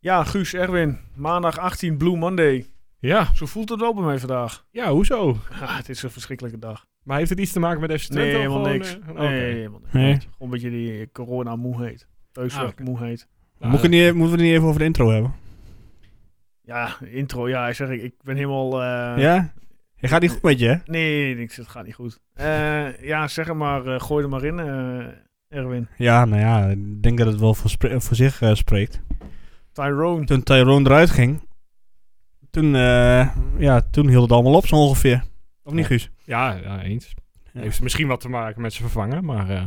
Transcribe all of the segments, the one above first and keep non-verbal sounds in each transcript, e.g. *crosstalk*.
Ja, Guus, Erwin, maandag 18, Blue Monday. Ja, Zo voelt het wel bij mij vandaag. *laughs* ja, hoezo? Ah, het is een verschrikkelijke dag. Maar heeft het iets te maken met FC Twente? Nee, of helemaal gewoon, niks. eh, oké. Nee, helemaal niks. Nee. Gewoon een beetje die corona-moeheid. Ah, Thuiswerk oké. moeheid. Nou, Moet ik het niet, e- moeten we het niet even over de intro hebben? Ja, intro, ja, ik zeg, ik, ik ben helemaal... eh, ja? Je gaat niet goed met je, hè? Nee, niks, het gaat niet goed. Eh, ja, zeg het maar, eh, gooi er maar in, eh, Erwin. Ja, nou ja, ik denk dat het wel voor, spre- voor zich eh, spreekt. Tyrone. Toen Tyrone eruit ging, toen, eh, ja, toen hield het allemaal op zo ongeveer. Of niet, Guus? Ja, ja, eens. Ja. Heeft misschien wat te maken met zijn vervanger, maar eh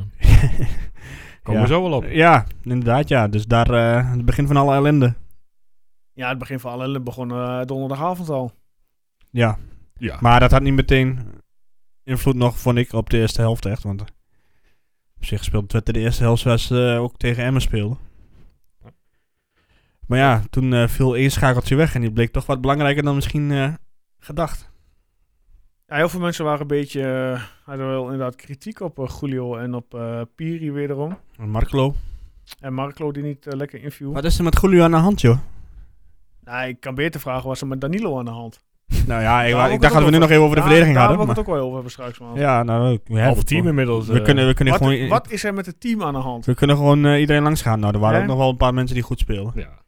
komen we zo wel op. *laughs* Ja, inderdaad, ja. Dus daar eh, het begin van alle ellende. Ja, het begin van alle begon eh, donderdagavond al. Ja, Ja. maar dat had niet meteen invloed nog, vond ik, op de eerste helft echt. Want op zich speelde Twente de eerste helft zoals ze eh, ook tegen Emmen speelden. Maar ja, toen eh, viel één schakeltje weg en die bleek toch wat belangrijker dan misschien eh, gedacht. Ja, heel veel mensen waren een beetje, eh, hadden wel inderdaad kritiek op eh, Julio en op eh, Piri wederom. En Marklo. En Marco die niet eh, lekker inviel. Wat is er met Julio aan de hand, joh? Nou, ik kan beter vragen, was er met Danilo aan de hand? Nou ja, Daar ik, hebben we ik dacht het dat we nu ook nog even over de Ja, verdediging daar hebben hadden. Maar, we het ook wel over hebben straks, man. ja, nou, we, we Half hebben team het inmiddels. wel. we eh, kunnen, we kunnen wat, gewoon, wat is er met het team aan de hand? we kunnen gewoon eh, iedereen langs gaan. Nou, er waren Ja? ook nog wel een paar mensen die goed spelen. Ja.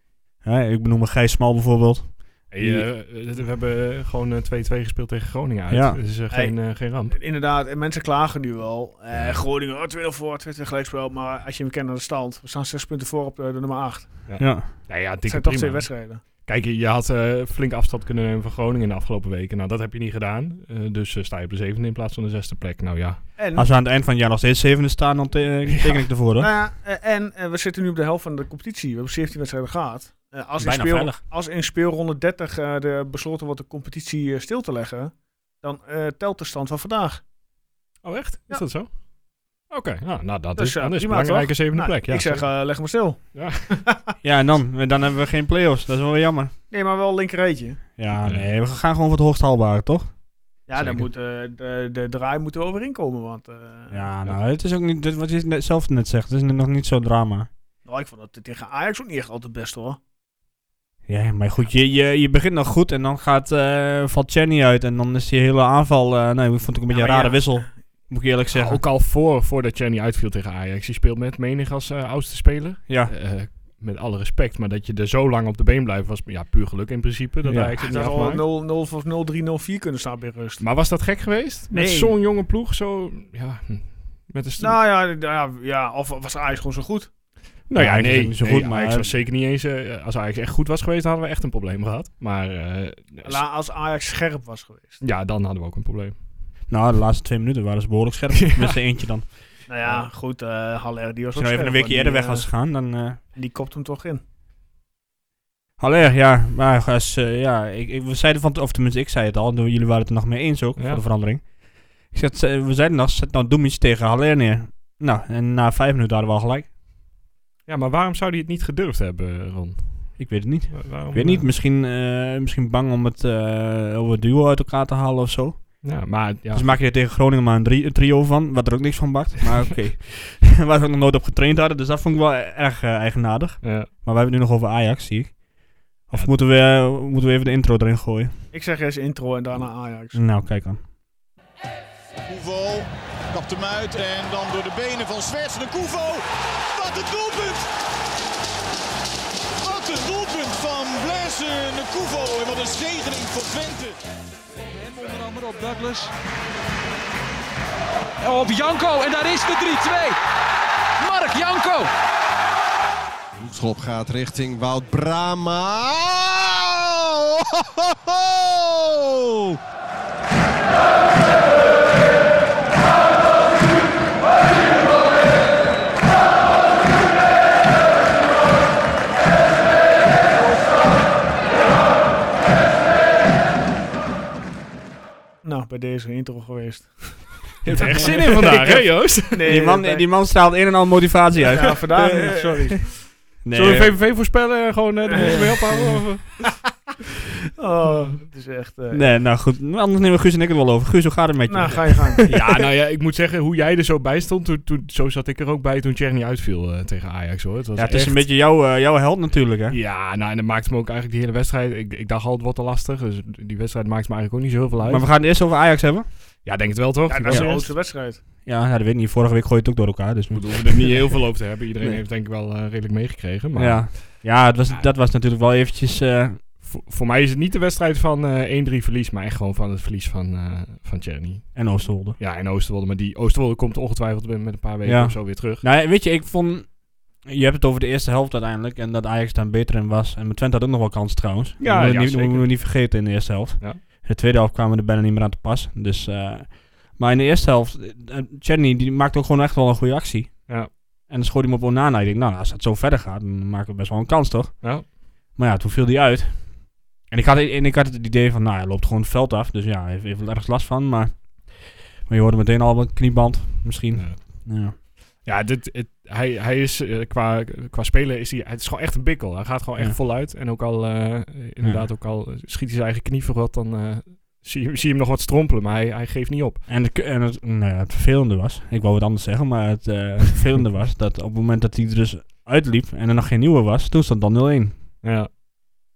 Ja, ik benoem me Gijs Smal bijvoorbeeld. Hey, eh, we hebben gewoon eh, 2-2 gespeeld tegen Groningen uit. Ja. Dus is eh, Hey. geen, eh, geen ramp. Inderdaad, en mensen klagen nu wel. Eh, Groningen, oh, 2-0 voor, 2-2 gelijkspel. Maar als je hem kent naar de stand, we staan 6 punten voor op de, de nummer 8. Ja. Nou ja, Het dikke zijn toch twee prima. wedstrijden. Kijk, je je had eh, flink afstand kunnen nemen van Groningen de afgelopen weken. Nou, dat heb je niet gedaan. Eh, dus eh, sta je op de zevende in plaats van de zesde plek. Nou ja. En, Als we aan het eind van het jaar nog steeds zevende staan, dan te- eh, teken ik ervoor. Hoor. nou ja, eh, en eh, we zitten nu op de helft van de competitie. We hebben 17 wedstrijden gehad. Eh, als, in Bijna speel, veilig. als in speelronde 30 eh, de besloten wordt de competitie eh, stil te leggen, dan eh, telt de stand van vandaag. Oh, echt? Is Ja. dat zo? Oké, nou, nou, dat Dus, is, eh, dan is een prima, belangrijke toch? zevende Nou, plek. Ja, ik zeg, eh, leg maar stil. Ja, en dan, dan hebben we geen play-offs. Dat is wel weer jammer. Nee, maar wel linkerreetje. Ja, Nee. nee, we gaan gewoon voor het hoogst haalbare, toch? Ja, dan Zeker. moet, eh, de, de draai moet er overheen komen. Want eh, Ja, nou, het is ook niet, dit, wat je net, zelf net zegt, het is nog niet zo'n drama. nou, ik vond dat tegen Ajax ook niet echt altijd best hoor. Ja, maar goed, je, je, je begint nog goed en dan gaat, eh valt Chenny uit en dan is die hele aanval... eh nee, ik vond het ook een beetje Ja, een maar rare ja. wissel, moet ik eerlijk zeggen. Ook al voor, voordat Jenny uitviel tegen Ajax. Die speelt met menig als eh, oudste speler. Ja, Eh, met alle respect, maar dat je er zo lang op de been blijft was ja, puur geluk in principe. Dat Ja. Ajax het Het niet zou afmaakt. al 0-0 of 0-3-0-4 kunnen staan bij rust. Maar was dat gek geweest? Met Nee. zo'n jonge ploeg, zo... Ja, hm, met een stu- Nou ja, ja, ja, of was Ajax gewoon zo goed? Nou ja, Ajax is nee, niet zo nee, goed, maar- Ajax was zeker niet eens... eh, als Ajax echt goed was geweest, hadden we echt een probleem gehad. Maar eh, La, als Ajax scherp was geweest. ja, dan hadden we ook een probleem. nou, de laatste twee minuten waren ze behoorlijk *laughs* scherp. Tenminste eentje dan. Als Nou ja, goed, eh Haller die was je ook nou even scherp, een weekje maar die, eerder weg eh, was gegaan, dan... eh, Die kopt hem toch in. Haller, ja. Maar als, eh, ja, ik, ik- we zeiden van, of tenminste ik zei het al, en jullie waren het er nog mee eens ook, Ja. voor de verandering. Ik zeg, eh, we zeiden nog, zet nou Doemies tegen Haller neer. Nou, en na vijf minuten hadden we al gelijk. Ja, maar waarom zou hij het niet gedurfd hebben, Ron? Ik weet het niet. Wa- Waarom, Ik weet niet, misschien, eh, misschien bang om het, eh, om het duo uit elkaar te halen of zo. Ja, maar ja. Dus maak je er tegen Groningen maar een, drie- een trio van, wat er ook niks van bakt. Maar oké, *laughs* waar we ook nog nooit op getraind hadden, dus dat vond ik wel erg eh, eigenaardig. Ja. Maar we hebben het nu nog over Ajax, zie ik. Of Ja. moeten, we, eh, moeten we even de intro erin gooien? Ik zeg eerst intro en daarna Ajax. Nou, kijk aan. Koevo kapt hem uit en dan door de benen van Zwerts de Koevo. Wat een doelpunt! Wat een doelpunt van Blaise de Koevo en wat een zegening voor Twente. En onder andere op Douglas. Op Janko en daar is de 3-2. Mark Janko. Hoekschop gaat richting Wout Brama. Oh, Nou, bij deze intro geweest. Je hebt er *laughs* echt zin in vandaag, hè Joost? Nee, Nou, *laughs* Die man, bij- die man straalt een en al motivatie uit. *laughs* Ja, *laughs* vandaag niet, sorry. Nee, Zullen we VVV voorspellen en gewoon eh, er niet mee ophouden? Of, eh? Oh, het is echt... eh, Nee, nou goed. Anders nemen Guus en ik het wel over. Guus, hoe gaat het met je? Nou, ga je *laughs* gang. *laughs* Ja, nou ja, ik moet zeggen, hoe jij er zo bij stond, toen, toen, zo zat ik er ook bij toen Tjerni uitviel eh, tegen Ajax hoor. Het was ja, het is echt- een beetje jouw, eh, jouw held natuurlijk, hè? Ja, nou en dat maakte me ook eigenlijk die hele wedstrijd. Ik, ik dacht al, het wordt te lastig. Dus die wedstrijd maakt me eigenlijk ook niet zo heel veel uit. Maar we gaan het eerst over Ajax hebben. Ja, denk het wel toch? Ja, Ik dat is de bedoel, hoogste wedstrijd. Ja, ja, dat weet ik niet. Vorige week gooi je het ook door elkaar. Dus we hoeven er niet heel veel over te hebben. Iedereen Nee. heeft denk ik wel eh, redelijk meegekregen. Maar ja, ja het was, dat was natuurlijk wel eventjes... eh, voor, voor mij is het niet de wedstrijd van eh 1-3 verlies, maar echt gewoon van het verlies van, eh van Tjerni. en Oosterwolde. Ja, en Oosterwolde. Maar die Oosterwolde komt ongetwijfeld met met een paar weken Ja. of zo weer terug. Nou, weet je, ik vond... Je hebt het over de eerste helft uiteindelijk. En dat Ajax daar beter in was. En met Twente had ook nog wel kansen trouwens. Dat ja, moeten we niet, zeker. moeten we niet vergeten in de eerste helft. Ja. In de tweede helft kwamen er bijna niet meer aan te pas. Dus, eh, maar in de eerste helft... eh, eh, Chadney, die maakte ook gewoon echt wel een goede actie. Ja. En dan schoot hij hem op Onana. Ik denk, nou, als dat zo verder gaat, dan maken we best wel een kans, toch? Ja. Maar ja, toen viel die uit. En ik, had, en ik had het idee van, nou, hij loopt gewoon het veld af. Dus ja, hij heeft, heeft wel ergens last van. Maar, maar je hoorde meteen al een knieband, misschien. Ja. Ja. Ja, dit, het- hij, hij is eh, qua, qua spelen is hij, het is gewoon echt een bikkel. Hij gaat gewoon echt Ja. voluit. En ook al, eh, inderdaad, ook al schiet hij zijn eigen knie voor wat, dan eh, zie, je- zie je hem nog wat strompelen. Maar hij, hij geeft niet op. En, de, k- en het, nou ja, het vervelende was, ik wou wat anders zeggen, maar het, eh, het vervelende was dat op het moment dat hij er dus uitliep en er nog geen nieuwe was, toen stond dan 0-1. Ja.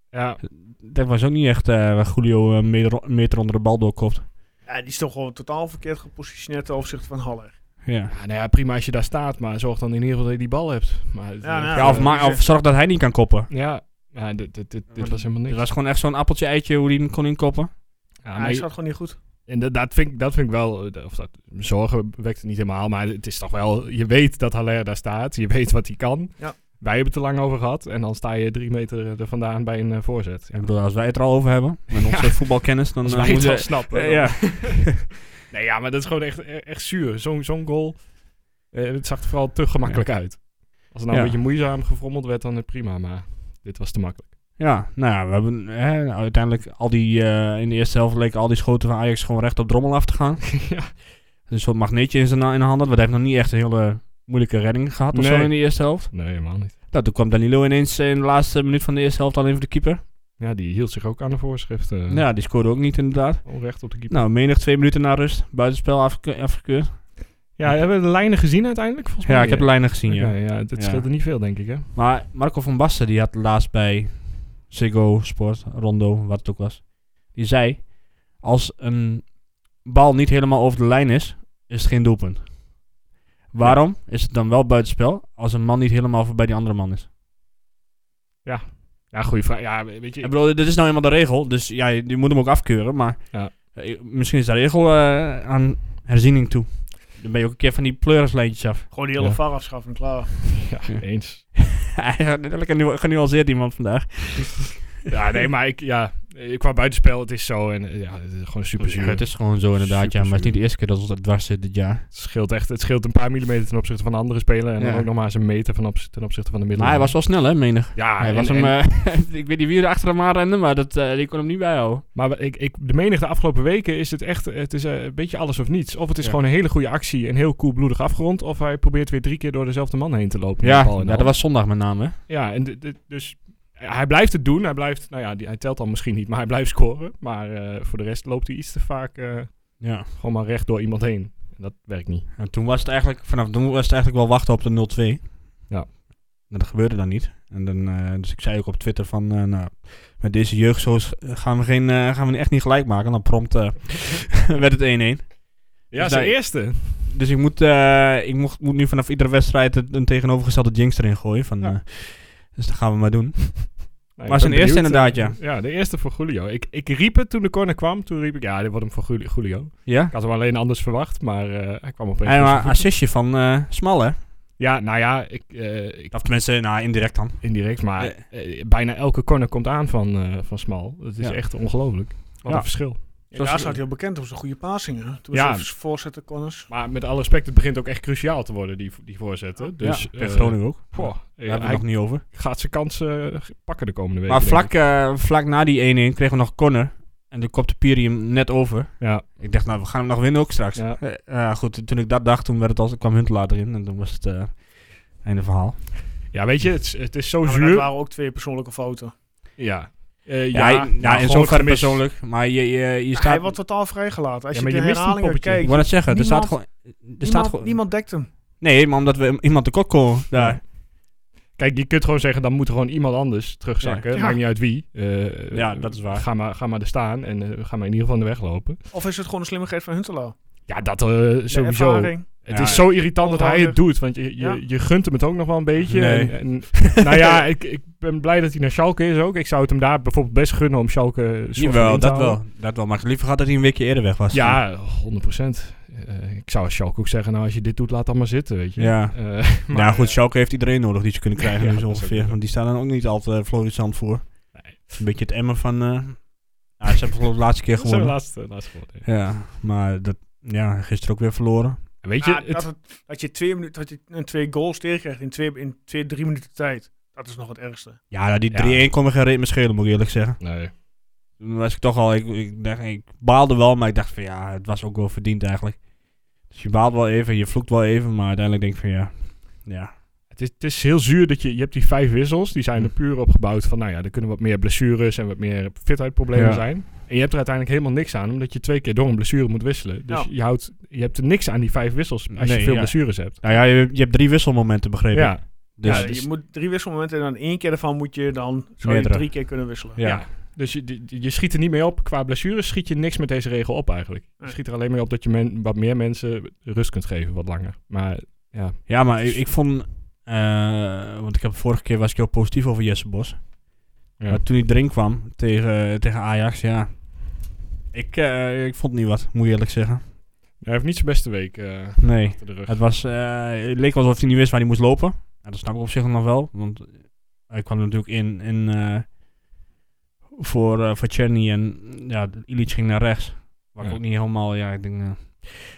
Ja, Dat was ook niet echt eh, waar Julio eh, een meter, een meter onder de bal doorkopt. Ja, die is toch gewoon totaal verkeerd gepositioneerd ten opzichte van Haller. Ja. nou ja, prima als je daar staat. Maar zorg dan in ieder geval dat je die bal hebt. Maar, Ja, nou, Ja, of, eh, ma- dus of zorg dat hij niet kan koppen. ja, ja, dit, dit, dit, dit Maar was helemaal Het niks. was gewoon echt zo'n appeltje-eitje hoe hij hem kon inkoppen. Ja, Ja, maar hij je- staat gewoon niet goed. En dat, dat, vind, ik- dat vind ik wel, eh, of dat, zorgen wekt het niet helemaal, maar het is toch wel, je weet dat Haller daar staat, je weet wat hij kan. Ja. Wij hebben het er lang over gehad en dan sta je drie meter eh, er vandaan bij een eh, voorzet. Ik bedoel, als wij het er al over hebben, *laughs* met onze voetbalkennis, dan Als eh, wij het moeten wel we- snappen. eh, dan- ja. *laughs* Nee, ja, maar dat is gewoon echt, e- echt zuur. Zo'n zo'n goal, eh, het zag er vooral te gemakkelijk uit. Als het nou Ja. een beetje moeizaam gefrommeld werd, dan eh, prima, maar dit was te makkelijk. *laughs* ja, nou ja, we hebben eh, uiteindelijk al die, eh, in de eerste helft leken al die schoten van Ajax gewoon recht op drommel af te gaan. ja. een soort magneetje in zijn eh, in de hand had. Want hij heeft nog niet echt een hele moeilijke redding gehad of Nee. zo in de eerste helft. Nee, helemaal niet. Nou, toen kwam Danilo ineens eh, in de laatste minuut van de eerste helft alleen voor de keeper. Nou Ja, die hield zich ook aan de voorschriften. Ja, die scoorde ook niet inderdaad. Onrecht op de keeper. Nou, menig twee minuten na rust. Buitenspel afke- afgekeurd. Ja, hebben we de lijnen gezien uiteindelijk? Volgens Ja, mij ik heb de lijnen gezien, ja. Oké, ja, het het Ja. scheelde niet veel, denk ik, hè? Maar Marco van Basten, die had laatst bij Ziggo Sport, Rondo, wat het ook was. Die zei, als een bal niet helemaal over de lijn is, is het geen doelpunt. Waarom is het dan wel buitenspel als een man niet helemaal voorbij die andere man is? Ja, goede vraag. Ja, weet je... Ik bedoel, dit is nou eenmaal de regel, dus ja, je, je moet hem ook afkeuren, maar Ja. eh, misschien is de regel eh, aan herziening toe. Dan ben je ook een keer van die pleurislijntjes af. *laughs* Gewoon die hele Ja. VAR afschaffen, klaar. Ja, eens. Lekker nu- genuanceerd iemand vandaag. Ja, nee, maar ik... Ja, eh, qua buitenspel, het is zo. En eh, ja, het is gewoon super Ja, zuur. het is gewoon zo inderdaad, ja, maar het is niet de eerste keer dat ons dat dwars zit dit jaar. Het scheelt echt... Het scheelt een paar millimeter ten opzichte van de andere speler. En Ja. dan ook nog maar eens een meter van opz- ten opzichte van de Maar hij middenlijn. was wel snel hè, menig. Ja, hij en- was hem, en- eh, *laughs* ik weet niet wie er achter hem aan rende, maar dat, eh, die kon hem niet bijhouden. maar we- ik, ik, de menigte afgelopen weken is het echt... Het is eh, een beetje alles of niets. Of het is Ja. gewoon een hele goede actie en heel koelbloedig afgerond. Of hij probeert weer drie keer door dezelfde man heen te lopen. met Ja, de bal in de ja, dat hand. was zondag met name. hè. Ja, en dit- dit- dus hij blijft het doen. Hij blijft, nou ja, die, hij telt dan misschien niet, maar hij blijft scoren. Maar eh, voor de rest loopt hij iets te vaak eh, Ja. gewoon maar recht door iemand heen. En dat werkt niet. En toen was het eigenlijk, vanaf toen was het eigenlijk wel wachten op de 0-2. Ja. Maar dat gebeurde dan niet. En dan, eh, dus ik zei ook op Twitter van, eh, nou, met deze jeugdzoos gaan we, geen, eh, gaan we echt niet gelijk maken. En dan prompt eh, *laughs* werd het 1-1. Ja, Dus zijn daar- eerste. Dus ik moet, eh, ik mocht, moet nu vanaf iedere wedstrijd het- een tegenovergestelde jinx erin gooien. Van, Ja. eh, dus dat gaan we maar doen. Nou, Maar ik zijn ben eerste benieuwd. inderdaad, ja. Ja, de eerste voor Julio. Ik, ik riep het toen de corner kwam. Toen riep ik, ja, dit wordt hem voor Juli- Julio. Ja? Ik had hem alleen anders verwacht, maar eh, hij kwam opeens. En voor maar zijn voet. assistje van eh Smal, hè? Ja, nou ja, ik, eh, ik, Of tenminste, nou, indirect dan. indirect, maar eh, bijna elke corner komt aan van, eh, van Smal. Dat is Ja. echt ongelooflijk. Wat Ja. een verschil. Ja, Zoals- daar staat hij heel bekend om zijn goede passingen. Toen Ja. Oh, ja. voorzetten, corners. Maar met alle respect, het begint ook echt cruciaal te worden, die, die voorzetten. Dus, ja, tegen eh, Groningen ook. goh, Daar hebben we hij het nog niet over. gaat zijn kansen pakken de komende week. Maar vlak, eh, vlak na die 1-1 kregen we nog corner. En toen kopte Piri hem net over. Ja. Ik dacht, nou, we gaan hem nog winnen ook straks. Ja. Eh, ja, goed, toen ik dat dacht, toen werd het als, kwam Huntelaar erin. En toen was het eh einde verhaal. Ja, weet je, het, is- het is zo Maar dat zuur. waren ook twee persoonlijke fouten. Ja. Eh, Ja, ja, maar in gewoon zoverre gemis. persoonlijk. Maar je, je, je staat... Hij wordt totaal vrijgelaten. Als Ja, je maar de je mist die herhalingen poppetje. kijkt, Ik wou net zeggen, er staat gewoon... Niemand- Er staat niemand, gewoon niemand dekt hem. nee, maar omdat we iemand tekort komen daar. Kijk, je kunt gewoon zeggen, dan moet er gewoon iemand anders terugzakken. Ja. Maakt niet uit wie. Eh, Ja, dat is waar. Ga maar, ga maar er staan en eh, ga maar in ieder geval in de weg lopen. Of is het gewoon een slimmigheid van Huntelaar? Ja, dat eh, De sowieso. ervaring. Het Ja, is zo irritant dat hij onhandig. het doet, want je, je, Ja. je gunt hem het ook nog wel een beetje. Nee. En, en, *laughs* nou ja, ik, ik ben blij dat hij naar Schalke is ook. Ik zou het hem daar bijvoorbeeld best gunnen om Schalke... een soort van Jawel, in te dat houden. wel. Dat wel. Maar ik had liever gehad dat hij een weekje eerder weg was. Ja, 100 procent. Eh, ik zou als Schalke ook zeggen, nou als je dit doet, laat dan maar zitten, weet je. Ja. *laughs* Eh, Nou ja, goed, Schalke heeft iedereen nodig die ze kunnen *laughs* krijgen Ja, nu zo dat is ook ongeveer. zo. Want die staan dan ook niet altijd uh, florissant voor. Nee. Een beetje het emmen van... eh ja, ze hebben geloof ik de laatste *laughs* keer dat zijn de gewonnen. laatste, laatste woorden. Ja, maar dat, ja, gisteren ook weer verloren. Weet je, Ah, het- dat, het- dat je twee, minuten, dat je eh, twee goals tegenkrijgt in twee, in twee, drie minuten tijd. Dat is nog het ergste. Ja, nou, die Ja. 3-1 kon me geen reet meer schelen, moet ik eerlijk zeggen. nee. Toen was ik toch al... Ik, ik, dacht, ik baalde wel, maar ik dacht van ja, het was ook wel verdiend eigenlijk. Dus je baalt wel even, je vloekt wel even, maar uiteindelijk denk ik van ja... Ja, Het is, het is heel zuur dat je, je hebt die vijf wissels, die Hm. zijn er puur op gebouwd van, nou ja, er kunnen wat meer blessures en wat meer fitheidproblemen Ja. zijn. En je hebt er uiteindelijk helemaal niks aan, omdat je twee keer door een blessure moet wisselen. Dus Ja. je, houdt, je hebt er niks aan die vijf wissels als Nee, je veel ja. blessures hebt. nou ja, je, je hebt drie wisselmomenten begrepen. Ja, Dus, ja, dus- je moet drie wisselmomenten en dan één keer daarvan moet je dan zou je Meerdere. drie keer kunnen wisselen. Ja. Ja. Dus je, die- die- je schiet er niet mee op. Qua blessures schiet je niks met deze regel op eigenlijk. Je Nee. schiet er alleen mee op dat je men, wat meer mensen rust kunt geven, wat langer. Maar ja, Ja, maar ik, ik vond... eh, want ik heb vorige keer was ik heel positief over Jesse Bos. ja. Maar toen hij erin kwam tegen, tegen Ajax, ja... Ik, eh, ik vond het niet wat, moet ik eerlijk zeggen. hij heeft niet zijn beste week eh, Nee. achter de rug. Het, was, eh, het leek wel alsof hij niet wist waar hij moest lopen. Ja, dat snap ik op zich nog wel. Want hij kwam natuurlijk in, in eh, voor, eh voor Czerny en ja, Illich ging naar rechts. Waar ik Ja. ook niet helemaal... Ja, ik denk... eh,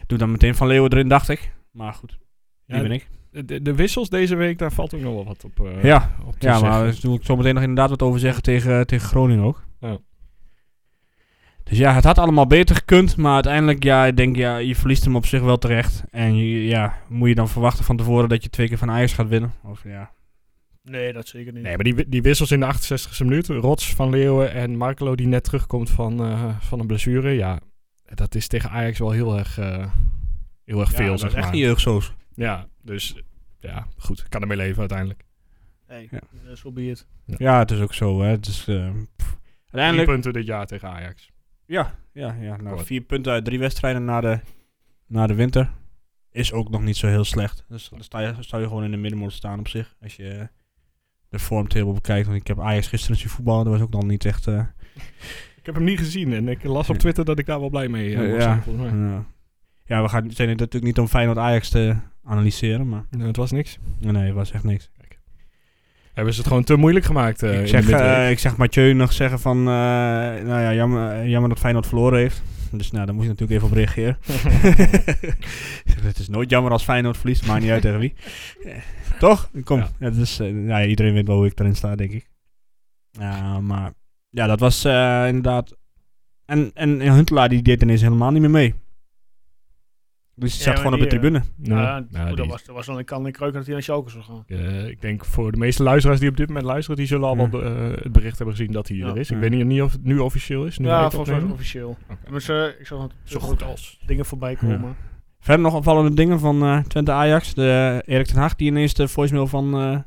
doe dan meteen Van Leeuwen erin, dacht ik. Maar goed, die Ja, ben ik. De- De, de wissels deze week, daar valt ook nog wel wat op, eh, Ja, op te Ja, zeggen. maar daar wil ik zo meteen nog inderdaad wat over zeggen tegen, tegen Groningen ook. Ja. Dus ja, het had allemaal beter gekund, maar uiteindelijk, ja, ik denk, ja, je verliest hem op zich wel terecht. En je, ja, moet je dan verwachten van tevoren dat je twee keer van Ajax gaat winnen? Of ja, Nee, dat zeker niet. Nee, maar die, wi- die wissels in de 68e minuut. Rots, Van Leeuwen en Markelo die net terugkomt van, eh, van een blessure. Ja, dat is tegen Ajax wel heel erg, eh, heel erg ja, veel, dat zeg is echt maar. niet jeugdsoos. Ja, dus ja, goed. Ik kan ermee leven uiteindelijk. Nee, Ja. eh, zo be het. Ja, het is ook zo, hè. Het is, eh, pff. Drie uiteindelijk, punten dit jaar tegen Ajax. ja, ja, ja, nou, Kort. vier punten uit drie wedstrijden na de, na de winter is ook nog niet zo heel slecht. Dus dan sta je, sta je gewoon in de middenmoot staan op zich, als je eh, de vormtable bekijkt. Want ik heb Ajax gisteren zien voetballen, dat was ook dan niet echt... eh, Ik heb hem niet gezien en ik las op Twitter dat ik daar wel blij mee eh, Ja, was. ja. volgens mij. Ja. ja, we gaan zijn het natuurlijk niet om Feyenoord Ajax te analyseren, maar Nou, het was niks. nee, het was echt niks. Hebben ze het gewoon te moeilijk gemaakt eh, in ik, de zeg, midweek. eh, ik zag Mathieu nog zeggen van, eh, nou ja, jammer, jammer dat Feyenoord verloren heeft. Dus nou, daar moest je natuurlijk even op *laughs* reageren. het is nooit jammer als Feyenoord verliest, maakt niet uit tegen wie. Eh, Toch? Kom, Ja. ja. dus, nou ja, iedereen weet wel hoe ik erin sta, denk ik. Ja, maar ja, dat was eh, inderdaad... En, en, en Huntelaar die deed ineens helemaal niet meer mee. Dus die Ja, zat maar gewoon op de die, eh, tribune. Nou, Ja, nou, goed, die- dat, was, dat was dan een kan en kruik dat hij naar Schalke zou gaan. eh, ik denk voor de meeste luisteraars die op dit moment luisteren, die zullen al Ja. wel eh, het bericht hebben gezien dat hij Hmm. Ja. Hmm. er is. Ik Ja. weet niet- niet of het nu officieel is. Nu wij ja, het volgens mij opnemen. officieel. Oké. Maar ze, ik zag Zo goed als. dingen voorbij komen. Verder nog opvallende dingen van eh, Twente Ajax. De eh, Erik ten Hag die ineens de voicemail van, eh,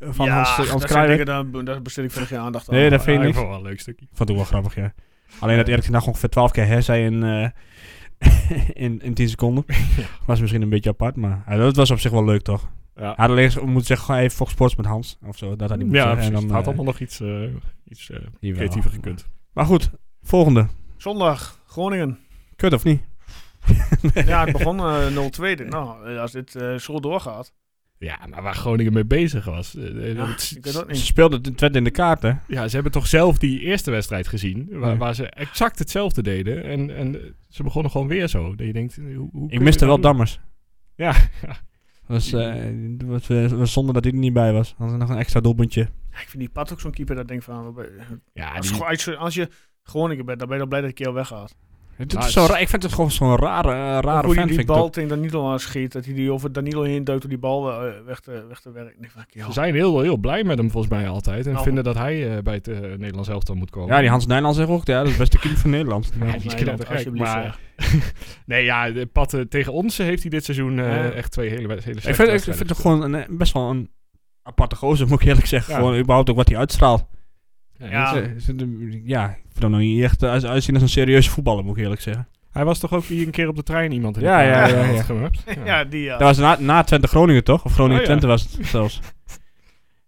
van ja, Hans, eh, Hans dat zijn Kruijwijk... dingen, daar, daar bestel ik verder geen aandacht aan. Nee, dat Ja, vind ik vond niks. eh, wel een leuk stukje. Vond ik wel grappig, ja. Alleen dat Erik ten Hag ongeveer 12 keer her zei in, eh, *laughs* in, in 10 seconden. Was misschien een beetje apart, maar eh, dat was op zich wel leuk, toch? Ja, Hij had alleen moeten zeggen, hij heeft Fox Sports met Hans. Of zo, dat had hij moeten ja zeggen. precies. het had eh, allemaal nog iets, eh, iets eh, jawel. creatiever gekund. Maar goed, volgende. Zondag, Groningen. Kut of niet? ja, het begon eh 0-2. Nou, eh, als dit eh, zo doorgaat. Ja, maar waar Groningen mee bezig was. eh, eh, Ja, het- ik weet ook Ze niet. speelden de Twente in de kaart, hè? Ja, ze hebben toch zelf die eerste wedstrijd gezien, waar, Ja. waar ze exact hetzelfde deden. En, en ze begonnen gewoon weer zo. Dat je denkt, hoe, hoe kun Ik je miste wel dat doen? Dammers. *laughs* Ja, ja. Was, eh, was, eh, was zonde dat hij er niet bij was. Hadden we nog een extra doelpuntje. Ja, ik vind die Pat ook zo'n keeper dat denkt van... wat ben- ja Als, die- als je, als je Groningen bent, dan ben je dan blij dat je al weggaat. Het Nou, is zo het is- raar. Ik vind het gewoon zo'n rare, eh, Of rare hoe fan. hij Vind die ik dat. bal tegen Danilo aan schiet. Dat hij die over Danilo heen duikt om die bal eh, weg te, weg te werken. Nee, fuck, joh. *laughs* Ze zijn heel, heel blij met hem volgens mij altijd. En Nou. vinden dat hij eh, bij het eh, Nederlands elftal moet komen. Ja, die Hans Nijland zegt ook, ja, dat is best de keeper van Nederland. Ja, Nederland, die is knettergek, alsjeblieft, maar... *laughs* nee, ja, de pad, eh, tegen ons heeft hij dit seizoen eh, Ja. echt twee hele, hele slechte Ik vind, ik wedstrijden vind het gewoon een, eh, best wel een aparte gozer, moet ik eerlijk zeggen. Ja. Gewoon überhaupt ook wat hij uitstraalt. gespeeld. Ja, Ja. Ze- ze- de- ja, ik vind hem nog niet echt eh, uit- uitzien als een serieuze voetballer, moet ik eerlijk zeggen. Hij was toch ook hier een keer op de trein iemand in Ja, de ja, kamer ja, had ja. gemurkt? Ja. Ja, die ja. Dat was na, na Twente Groningen, toch? Of Oh, Groningen ja. Twente was het zelfs.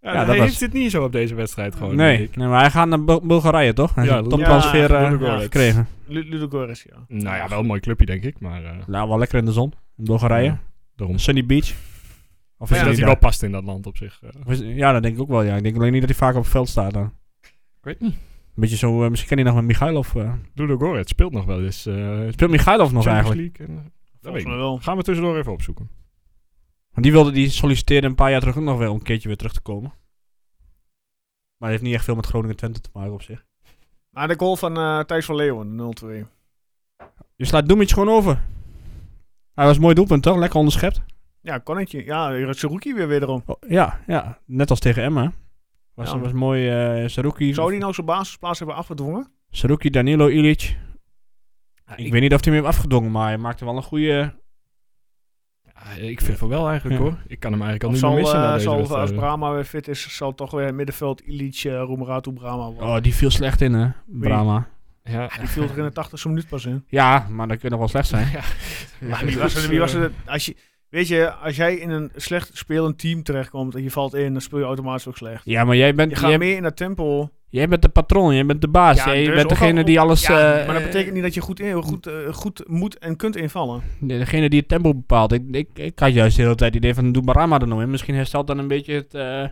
Ja, dat hij was- heeft dit niet zo op deze wedstrijd gewoon. nee, denk ik. nee, maar hij gaat naar Bul- Bulgarije, toch? Hij Oh, Ja, heeft een Lu- toptransfer ja, eh, Ludogorets. gekregen. Lu- Ludogorets, ja. Nou ja, wel een mooi clubje denk ik, maar... eh Nou, wel lekker in de zon. In Bulgarije. ja, daarom. Sunny Beach. Of Vind is je dat hij daar? wel past in dat land op zich? eh? Of is- Ja, dat denk ik ook wel, ja. Ik denk alleen niet dat hij vaak op het veld staat dan. ik weet niet. Een beetje zo, eh, misschien ken hij nog met Michailov. eh. Ludo Goret speelt nog wel eens. eh Champions Speelt Michailov nog eigenlijk? League. En, eh, dat weet Volgens ik mij niet. wel. Gaan we tussendoor even opzoeken. Want die wilde die solliciteerde een paar jaar terug ook nog wel een keertje weer terug te komen. Maar dat heeft niet echt veel met Groningen en Twente te maken op zich. Maar de goal van eh, Thijs van Leeuwen, de 0-2. Je slaat Doemits gewoon over. Hij was een mooi doelpunt toch? Lekker onderschept. Ja, konnetje. Ja, Saruki weer weer erom. Oh, ja, ja. Net als tegen Emma. Was, Ja. was mooi eh Saruki. Zou die nou zijn basisplaats hebben afgedwongen? Saruki, Danilo, Ilic. ik, ik- weet niet of hij hem heeft afgedwongen, maar hij maakte wel een goede... Ja, ik vind van wel eigenlijk Ja. hoor. Ik kan hem eigenlijk al Of niet meer zal, missen. na eh, deze zal als wedstrijden. Brahma weer fit is, zal toch weer middenveld Ilic, eh Roemeratu, Brahma worden. Oh, die viel slecht in hè, Brahma. Ja. Ja, die viel er in de 80ste minuut pas in. Ja, maar dat kan nog wel slecht *laughs* zijn. Maar wie was er? Wie was er als je, weet je, als jij in een slecht spelend team terechtkomt en je valt in, dan speel je automatisch ook slecht. Ja, maar jij bent, Je gaat jij, meer in dat tempo. jij bent de patroon, jij bent de baas. Ja, jij dus bent ook al- degene die alles... Ja, eh, maar dat betekent niet dat je goed, in, goed, eh, goed moet en kunt invallen. Nee, degene die het tempo bepaalt. Ik, ik, ik had juist de hele tijd het idee van doe Barama er nou in. Misschien herstelt dan een beetje het, eh,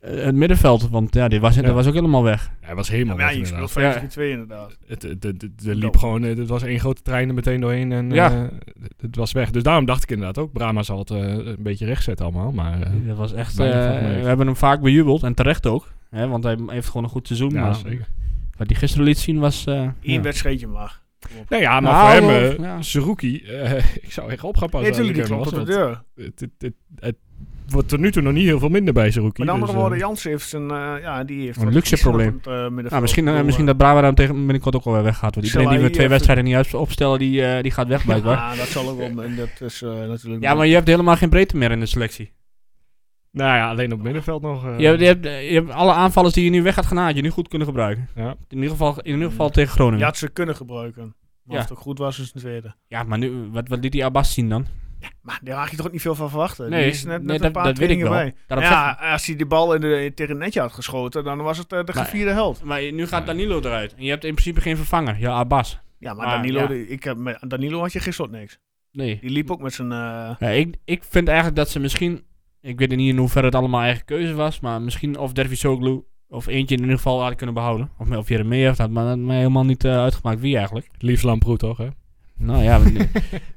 het middenveld. Want ja, dit was, Ja. dat was ook helemaal weg. Hij was helemaal Ja, weg je inderdaad. speelt inderdaad. 5-2 inderdaad. Het, het, het, het- er liep Ja. gewoon, eh, het was één grote trein er meteen doorheen en Ja. eh, het, het was weg. Dus daarom dacht ik inderdaad ook, Brahma zal het eh, een beetje rechtzetten allemaal. Maar eh, Dat was echt, Weinig eh, van gemerkt. we hebben hem vaak bejubeld. En terecht ook. Hè, want hij heeft gewoon een goed seizoen. ja, maar zeker. wat hij gisteren liet zien was... eh, Eén ja. wedstrijdje maar. Nee, ja, maar Nou, voor hem, wel, eh, ja. Saruki, eh, *laughs* ik zou echt op gaan Oh, Nee, passen. natuurlijk, die klopt was op de wat- deur. het, het, het, het wordt tot nu toe nog niet heel veel minder bij Saruki. Met andere dus, eh, woorden, Jans heeft een, eh, ja, die heeft Een luxe probleem. nou, misschien, eh, misschien dat Brahma hem tegen binnenkort ook alweer weggaat. Zal Want iedereen die hij we twee even- wedstrijden niet uit- opstellen, die, eh, die gaat weg blijkbaar. Ja. Ja, dat zal ook wel. En dat is eh, natuurlijk. maar je hebt helemaal geen breedte meer in de selectie. Nou ja, alleen op het middenveld nog. eh, Je hebt, je, hebt, je hebt alle aanvallers die je nu weg gaat gaan, had je nu goed kunnen gebruiken. Ja. In ieder geval, in ieder geval tegen Groningen. Je had ze kunnen gebruiken. Maar Ja. of het ook goed was, is een tweede. Ja, maar nu, wat, wat liet die Abbas zien dan? Maar daar mag je toch niet veel van verwachten? Nee, die is net, nee, net een dat- paar dat weet ik trainingen wel. bij. Daarom ja, als hij die bal in de, tegen het netje had geschoten, dan was het eh, de Maar- gevierde held. Maar nu gaat Danilo eruit. En je hebt in principe geen vervanger. Ja, Abbas. Ja, maar, Maar, Danilo, ja. die- ik, heb met Danilo had je gisteren ook niks. Nee. Die liep ook met zijn... eh, Ja, ik, ik vind eigenlijk dat ze misschien... Ik weet niet in hoeverre het allemaal eigen keuze was. Maar misschien of Dervisoglu of eentje in ieder geval hadden kunnen behouden. Of, of Jeremia heeft dat. Maar dat had mij helemaal niet eh, uitgemaakt wie eigenlijk. Liefst Lamproet toch, hè? Nou ja, maar nee,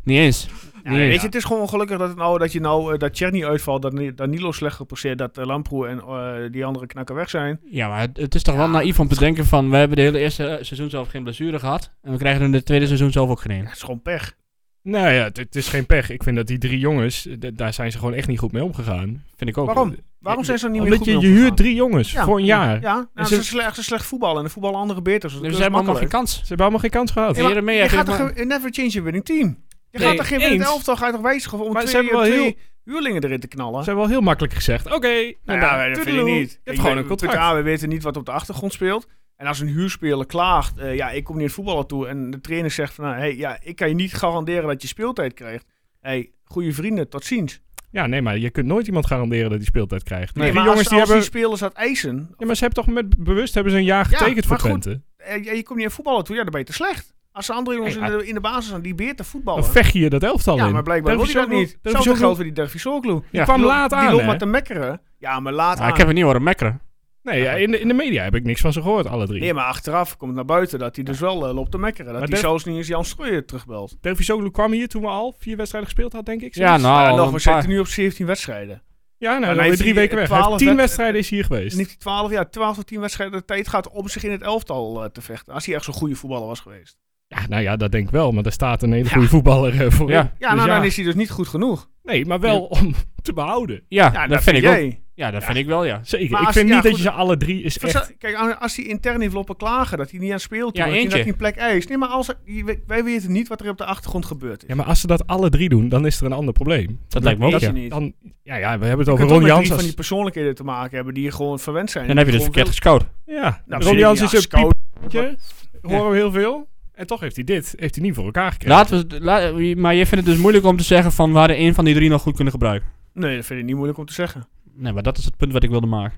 niet eens. ja, Nee, weet ja. je, het is gewoon gelukkig dat, het nou, dat je nou eh, dat Cherny uitvalt, dat Ni- Danilo slecht gepasseerd, dat eh, Lamproe en eh, die andere knakken weg zijn. Ja, maar het, het is toch wel naïef om te denken van... We hebben de hele eerste eh, seizoen zelf geen blessure gehad. En we krijgen er in het tweede seizoen zelf ook geen Ja, een. het is gewoon pech. Nou ja, het, het is geen pech. Ik vind dat die drie jongens, eh, d- daar zijn ze gewoon echt niet goed mee omgegaan. Vind ik ook. Waarom? Waarom zijn ze er niet meer Eh, Omdat goed je, mee je huurt omgegaan? drie jongens voor een jaar. Ja, nou, En ze, ze- is slecht, ze slecht voetballen en de voetballen andere beter. Dus dat Nee, is ze hebben allemaal geen makkelijk. Ze kans. hebben allemaal geen kans gehad. Ja, Jeremia je heeft gaat toch helemaal- geen- never change a winning team? Je Nee, gaat toch geen winnend eens. elftal ga je toch wijzigen om Maar twee, ze hebben wel twee heel- huurlingen erin te knallen? Ze hebben wel heel makkelijk gezegd, oké. Nou en ja, dan- nee, dat vind ik toedeloe. niet. Je Ik hebt gewoon weet- een contract. Punt A, we weten niet wat op de achtergrond speelt. En als een huurspeler klaagt, eh, ja, ik kom niet in het voetballen toe. En de trainer zegt van, nou, hey, ja, ik kan je niet garanderen dat je speeltijd krijgt. hey, goede vrienden, tot ziens. Ja, nee, maar je kunt nooit iemand garanderen dat hij speeltijd krijgt. Nee, die maar jongens als, die als hebben... die spelers dat eisen, Ja, maar ze hebben toch met bewust hebben ze een jaar Ja, getekend voor maar goed, Twente. eh, ja, je komt niet in voetballen toe, ja, dan ben je te slecht. Als de andere jongens Nee, in, de, in de basis zijn, die beter voetballen. Dan vecht je je dat elftal in. Ja, maar blijkbaar wil hij dat niet. Hetzelfde zo geldt voor die Dervisoglu. Die kwam lo- laat aan, Die loopt hè? maar te mekkeren. Ja, maar laat Ah, aan. ik heb het niet horen mekkeren. Nee, ja, in, de, in de media heb ik niks van ze gehoord, alle drie. Nee, maar achteraf komt naar buiten dat hij dus wel eh, loopt te mekkeren. Dat Maar hij Derv- zelfs niet eens Jan Strooijer terugbelt. Dervisoglu kwam hier toen we al vier wedstrijden gespeeld had, denk ik. Ja, zoiets. nou, Maar al nog, een we paar- zitten nu op 17 wedstrijden. Ja, nou, En hij dan eh, weer heeft drie hier weken weg. Hij heeft 12 tien wed- wedstrijden is hier En geweest. heeft hij 12, ja, 12 tot 10 wedstrijden de tijd gehad om zich in het elftal eh, te vechten. Als hij echt zo'n goede voetballer was geweest. Ja, nou ja, dat denk ik wel. Maar daar staat een hele goede voetballer eh, voor. in. Ja, Ja, nou dus dan is hij dus niet goed genoeg. Nee, maar wel om te behouden. ja, Ja, dat, vind ik ook. jij. Ja, dat vind ik wel, ja. Zeker. Maar ik als- vind ja, niet dat goed. je ze alle drie is Wat echt... zou- Kijk, aan- als hij intern heeft lopen klagen dat hij niet aan speelt, Ja, ja, dat hij eentje. geen plek eist. Nee, maar als, je- wij weten niet wat er op de achtergrond gebeurt. Ja, maar als ze dat alle drie doen, dan is er een ander probleem. Dat lijkt me ook, weet ja. je niet. Dan, ja, ja, we hebben het Je over kunt ook Ron met drie van Jans. die persoonlijkheden te maken hebben die gewoon verwend zijn. Dan heb je dus Gewoon verkeerd wel- gescout. Ja, Nou, Ron precies, Jans ja, is een scout. piepje. Horen we heel veel. En toch heeft hij dit heeft hij niet voor elkaar gekregen. Laten we, la- maar je vindt het dus moeilijk om te zeggen van we hadden één van die drie nog goed kunnen gebruiken. Nee, dat vind ik niet moeilijk om te zeggen. Nee, maar dat is het punt wat ik wilde maken.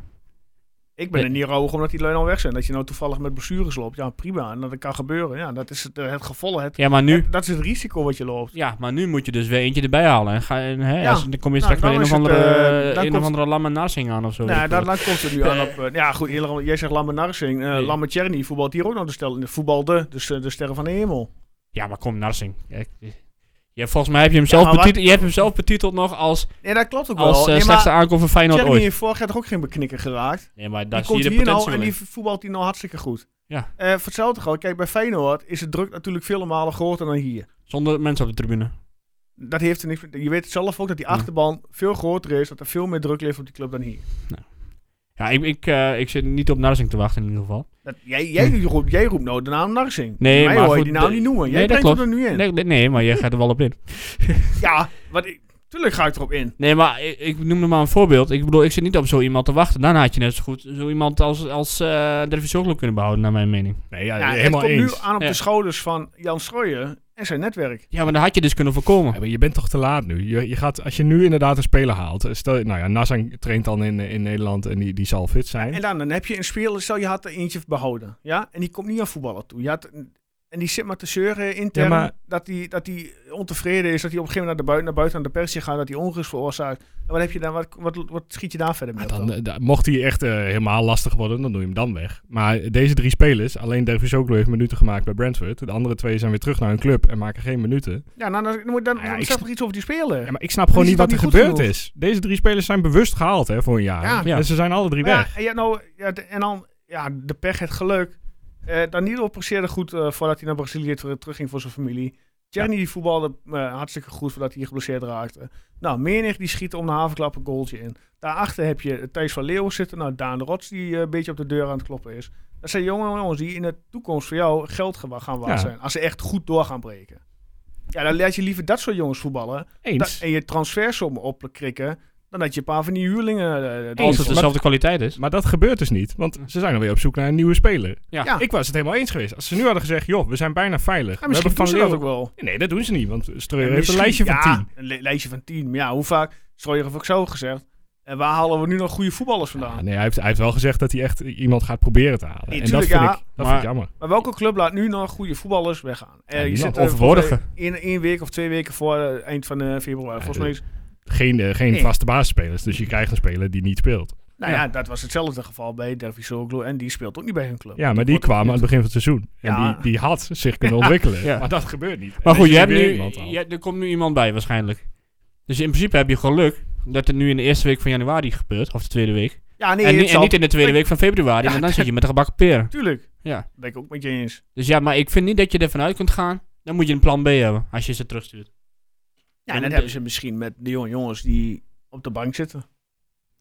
Ik ben Nee. er niet rouwig omdat die lui al weg zijn. Dat je nou toevallig met blessures loopt, ja prima. En dat kan gebeuren, ja, dat is het, eh, het gevolg. Het, Ja, maar nu, het- dat is het risico wat je loopt. ja, maar nu moet je dus weer eentje erbij halen. En ga, en, hè, Ja. als- dan kom je Nou, straks met dan een of is het, andere, eh, dan een of komt- andere Lamme Narsing aan of zo. Nou, Weet ja, ik daar, veel daar komt het nu aan op. eh, ja, goed, eerlijk, jij zegt Lambert Narsing. eh Nee. Lambert Tjerni voetbalt hier ook nog de stel. Voetbal de, dus eh, de sterren van de hemel. wat. ja, maar kom, Narsing. Kijk, je, volgens mij heb je hem zelf, maar wat- betiteld, je hebt hem zelf betiteld nog als, Nee, dat klopt ook als wel. eh, nee, slechtste maar aankoop van Feyenoord Tjerni ooit. heeft vorig jaar toch ook geen beknikker geraakt? Nee, maar Die daar zie komt je de hier potentie nou en wel die in. voetbalt hier nou hartstikke goed. Ja. Eh, voor hetzelfde geld, kijk, bij Feyenoord is het druk natuurlijk vele malen groter dan hier. Zonder mensen op de tribune. Dat heeft er niks mee- Je weet zelf ook dat die Ja. achterban veel groter is, dat er veel meer druk ligt op die club dan hier. Ja, ik, ik, eh, ik zit niet op Narsing te wachten in ieder geval. Dat, jij, jij, roept, jij roept nou de naam Narsing. Nee, Mij maar hoor je goed, die naam de- niet noemen. Jij nee, dat brengt hem er nu in. Nee, nee, nee, maar je gaat er wel op in. Ja, wat ik, tuurlijk ga ik erop in. Nee, maar ik, ik noemde maar een voorbeeld. Ik bedoel, ik zit niet op zo iemand te wachten. Dan had je net zo goed zo iemand als, als eh de Divisionclub kunnen behouden, naar mijn mening. Nee, ja, Ja, het helemaal komt eens. nu aan op Ja. de schouders van Jan Strooijen en zijn netwerk. Ja, maar dat had je dus kunnen voorkomen. Ja, maar je bent toch te laat nu. Je, je gaat, als je nu inderdaad een speler haalt. eh, Stel, nou ja, Nassang traint dan in, eh, in Nederland en die, die zal fit zijn. En dan, dan heb je een speler, stel je had er eentje behouden. Ja? En die komt niet aan voetballen toe. Je had, en die zit maar te zeuren intern Ja, maar- dat hij dat die ontevreden is. Dat hij op een gegeven moment naar, de buiten, naar buiten aan de persie gaat. Dat hij onrust veroorzaakt. En wat, heb je dan, wat, wat, wat schiet je daar verder mee? Maar op dan, eh, da- mocht hij echt eh, helemaal lastig worden, dan doe je hem dan weg. Maar deze drie spelers, alleen Dervisoglu heeft minuten gemaakt bij Brentford. De andere twee zijn weer terug naar hun club en maken geen minuten. Ja, nou, dan, dan, moet- dan, Nou ja, dan ik staat sn- er iets over die speler. Ja, maar ik snap gewoon is niet het wat er dan niet goed gebeurd is. Deze drie spelers zijn bewust gehaald hè, voor een jaar. Ja. Ja. En ze zijn alle drie Maar weg. Ja, en ja, nou, ja, de- en dan ja, de pech, het geluk. Eh Danilo presteerde goed eh, voordat hij naar Brazilië ter- terugging voor zijn familie. Tjerni die voetbalde eh, hartstikke goed voordat hij geblesseerd raakte. Nou, Menig die schiet om de havenklap een goaltje in. Daarachter heb je Thijs van Leeuwen zitten. Nou, Daan de Rots die eh, een beetje op de deur aan het kloppen is. Dat zijn jonge jongens die in de toekomst voor jou geld ge- gaan waard Ja. zijn. Als ze echt goed door gaan breken. Ja, dan laat je liever dat soort jongens voetballen. da- Eens. en je transfersom opkrikken. Dan dat je een paar van die huurlingen... eh, erin Als het stopt. dezelfde kwaliteit is. Maar dat gebeurt dus niet, want ze zijn alweer op zoek naar een nieuwe speler. Ja. Ja. Ik was het helemaal eens geweest. Als ze nu hadden gezegd, joh, we zijn bijna veilig. Ja, we misschien hebben doen van ze dat Leeuwen- ook wel. Nee, dat doen ze niet, want Streur En heeft een misschien- lijstje van ja, tien. Een li- lijstje van 10. Maar ja, hoe vaak? Strooier heeft ook zo gezegd. En waar halen we nu nog goede voetballers vandaan? Ja, Ah, nee, hij heeft, hij heeft wel gezegd dat hij echt iemand gaat proberen te halen. Nee, en dat tuurlijk, vind, ja, ik, dat maar- vind ik jammer. Maar welke club laat nu nog goede voetballers weggaan? Eh, Ja, je die zit laat eh, volgens mij overwogen. in één week of twee weken voor het eind van eh, februari. Ja, volgens mij is, Geen, eh, geen Nee. vaste basisspelers, dus je krijgt een speler die niet speelt. nou ja. dat was hetzelfde geval bij Dervisoglu. En die speelt ook niet bij hun club. Ja, maar die wordt- kwam aan het begin van het seizoen. En Ja. die, die had *laughs* zich kunnen ontwikkelen. Ja. Maar dat gebeurt niet. En Maar dan goed, je zie hebt dus weer nu, iemand al. je- er komt nu iemand bij waarschijnlijk. Dus in principe heb je geluk dat het nu in de eerste week van januari gebeurt. Of de tweede week. Ja, nee, en, ni- het en zal- niet in de tweede week van februari. want dan *laughs* zit je met de gebakken peren. Tuurlijk. Ja. Ben ik ook met je eens. Dus ja, maar ik vind niet dat je ervan uit kunt gaan. Dan moet je een plan B hebben als je ze terugstuurt. Ja, en dat de- hebben ze misschien met de jonge jongens die op de bank zitten.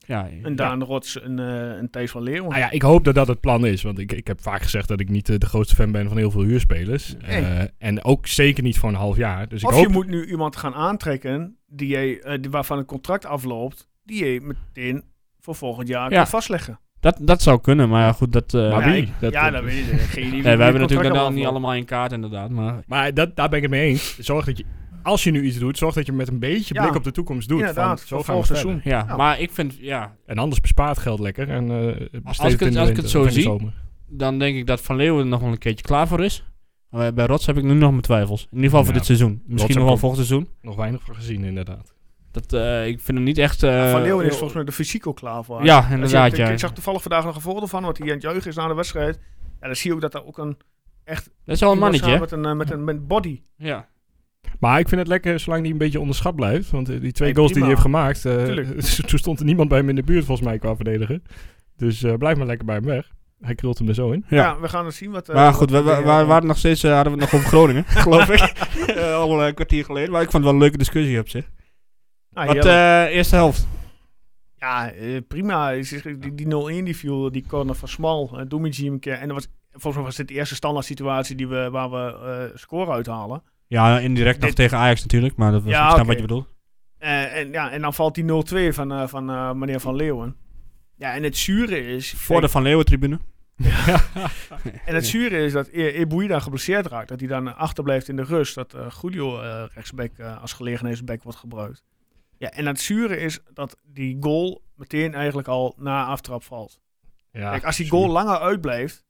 Ja, Een Daan Rots, een, eh een Thijs van Leeuwen. Nou ja, ik hoop dat dat het plan is. Want ik, ik heb vaak gezegd dat ik niet eh, de grootste fan ben van heel veel huurspelers. Nee. Eh, en ook zeker niet voor een half jaar. Dus ik of hoop... je moet nu iemand gaan aantrekken die jij, eh, die- waarvan het contract afloopt, die je meteen voor volgend jaar Ja. kan vastleggen. Dat, dat zou kunnen, maar ja, goed, dat... eh, Maar ja, wie? ik- Dat- ja, dat weet ik. Geen idee. nee, we hebben natuurlijk dan niet allemaal in kaart, inderdaad. Maar Maar dat, daar ben ik het mee eens. Zorg dat je, als je nu iets doet, zorg dat je met een beetje Ja. blik op de toekomst doet. Inderdaad, van, voor zo gaan we volgend seizoen. seizoen. ja, Ja. maar ik vind, ja, En anders bespaart geld lekker. En, eh, besteed Als ik het- in de als winter ik het zo of in de zie, zomer. dan denk ik dat Van Leeuwen er nog wel een keertje klaar voor is. Maar bij Rots heb ik nu nog mijn twijfels. In ieder geval voor Ja, dit seizoen. Misschien heb nog wel ik- volgend seizoen. Nog weinig van gezien, inderdaad. Dat, eh, ik vind hem niet echt... eh, Van Leeuwen is volgens mij de fysiek al klaar voor. Ja, Als je- inderdaad, ik- ja. Ik zag toevallig vandaag nog een foto van, want hij aan het juichen is na de wedstrijd. Ja, dan zie je ook dat er ook een... Dat is wel een iemand mannetje, staat hè? Met een, eh, met een met body. Ja. Maar ik vind het lekker zolang die een beetje onderschat blijft. Want eh, die twee Nee, goals prima. die hij heeft gemaakt, eh, *laughs* Tuurlijk. toen stond er niemand bij hem in de buurt volgens mij qua verdedigen. Dus eh, blijf maar lekker bij hem weg. Hij krult hem er zo in. Ja, we gaan eens zien wat... eh, maar wat goed, we, we- we eh, waren nog steeds, eh, hadden we het nog over *laughs* Groningen, geloof ik. Eh, Al eh, een kwartier geleden. Maar ik vond het wel een leuke discussie op zich. nou, Wat, heerlijk. eh, eerste helft. Ja, eh, prima. Is- is- Die, die 0-1 die viel, die corner van Smal, uh, Doemidji een keer. En dat was, volgens mij was dit de eerste standaard situatie die we, waar we eh, score uithalen. Ja, indirect nog Dit- tegen Ajax natuurlijk, maar dat was, Ja, ik snap oké. wat je bedoelt. Eh, en, ja, en dan valt die 0-2 van, eh, van eh, meneer Van Leeuwen. Ja, en het zure is... Voor de Van Leeuwen tribune. En het zure is dat E- Ebouida geblesseerd raakt. Dat hij dan achterblijft in de rust. Dat eh Julio eh rechtsback eh, als gelegenheidsback wordt gebruikt. Ja, en het zure is dat die goal meteen eigenlijk al na aftrap valt. Ja, Kijk, als die sorry. goal langer uitblijft,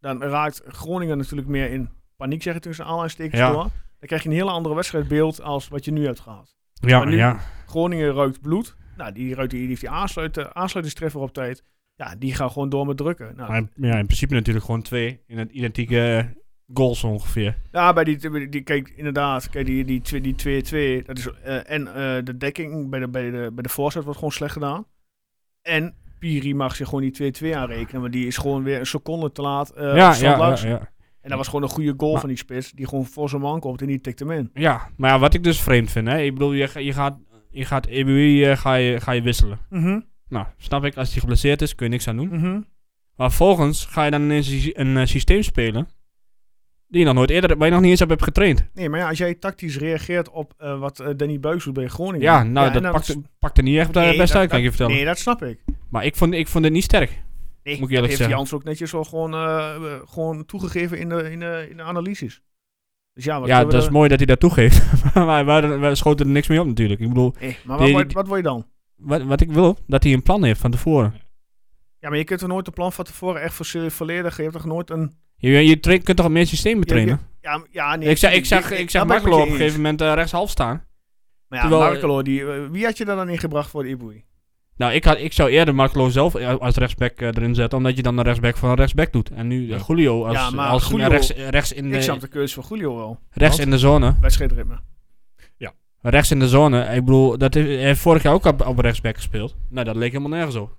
dan raakt Groningen natuurlijk meer in paniek, zeg ik tussen aanhalingstekens Ja. door. Dan krijg je een hele andere wedstrijdbeeld als wat je nu hebt gehad. Ja, Maar nu- ja. Groningen ruikt bloed. Nou, die, ruikt, die die heeft die aansluit, aansluitingstreffer op tijd. Ja, die gaan gewoon door met drukken. Nou, Maar in- ja, in principe natuurlijk gewoon twee in het identieke eh, goals ongeveer. Ja, bij die, bij die kijk, inderdaad, kijk, die 2-2, die, twee- die 2-2, dat is, eh, en eh, de dekking bij de, bij, de, bij de voorzet wordt gewoon slecht gedaan. En Piri mag zich gewoon die 2-2 aanrekenen, want die is gewoon weer een seconde te laat. eh, op ja, stand ja, langs. ja, ja. En dat was gewoon een goede goal Maar- van die spits, die gewoon voor zijn man komt en die tikt hem in. Ja, maar ja, wat ik dus vreemd vind, hè. Ik bedoel, je, ga- je gaat, je gaat EBU eh, ga, je, ga je wisselen. Nou, snap ik, als hij geblesseerd is, kun je niks aan doen. Maar volgens ga je dan ineens een, sy- een eh, systeem spelen die je nog nooit eerder, waar je nog niet eens op hebt getraind. Nee, maar ja, als jij tactisch reageert op eh, wat eh, Danny Buijs doet bij Groningen. Ja, nou, en dat dan- pakt, pakt er niet echt dus- Nee, eh, best dat- uit, kan ik je vertellen. Nee, dat snap ik. Maar ik vond, ik vond het niet sterk. Nee, Moet ik eerlijk dat heeft zeggen. Jans ook netjes wel gewoon, eh, eh, gewoon toegegeven in de, in, de, in de analyses. Dus ja, wat ja, kunnen dat we is daar- mooi dat hij dat toegeeft. *laughs* maar wij, wij, wij schoten er niks mee op natuurlijk. Ik bedoel, Nee, maar Die- wat, wat, die- wat wil je dan? wat, wat ik wil, dat hij een plan heeft van tevoren. Ja, maar je kunt er nooit een plan van tevoren echt voor volledig. Je hebt toch nooit een. Je, je tra- kunt toch meer systemen Ja, trainen? Ja, m- ja nee. ik zag, ik tuurlijk, zag, dit- ik zag daar ben Markelo op met een je eens. gegeven moment eh, rechtshalf staan. Maar ja, terwijl- Markelo, die, eh, wie had je daar dan in gebracht voor de Iboei? Nou, ik, had, ik zou eerder Markelo zelf eh, als rechtsback eh, erin zetten, omdat je dan een rechtsback van een rechtsback doet. En nu eh, Julio als, Ja, maar als een Julio- rechts, rechts, in Ik snap de, de keuze van Julio wel. rechts Wat? in de zone. Wedstrijdritme. Rechts in de zone. Ik bedoel, dat heeft, hij heeft vorig jaar ook op, op rechtsback gespeeld. Nou, dat leek helemaal nergens op.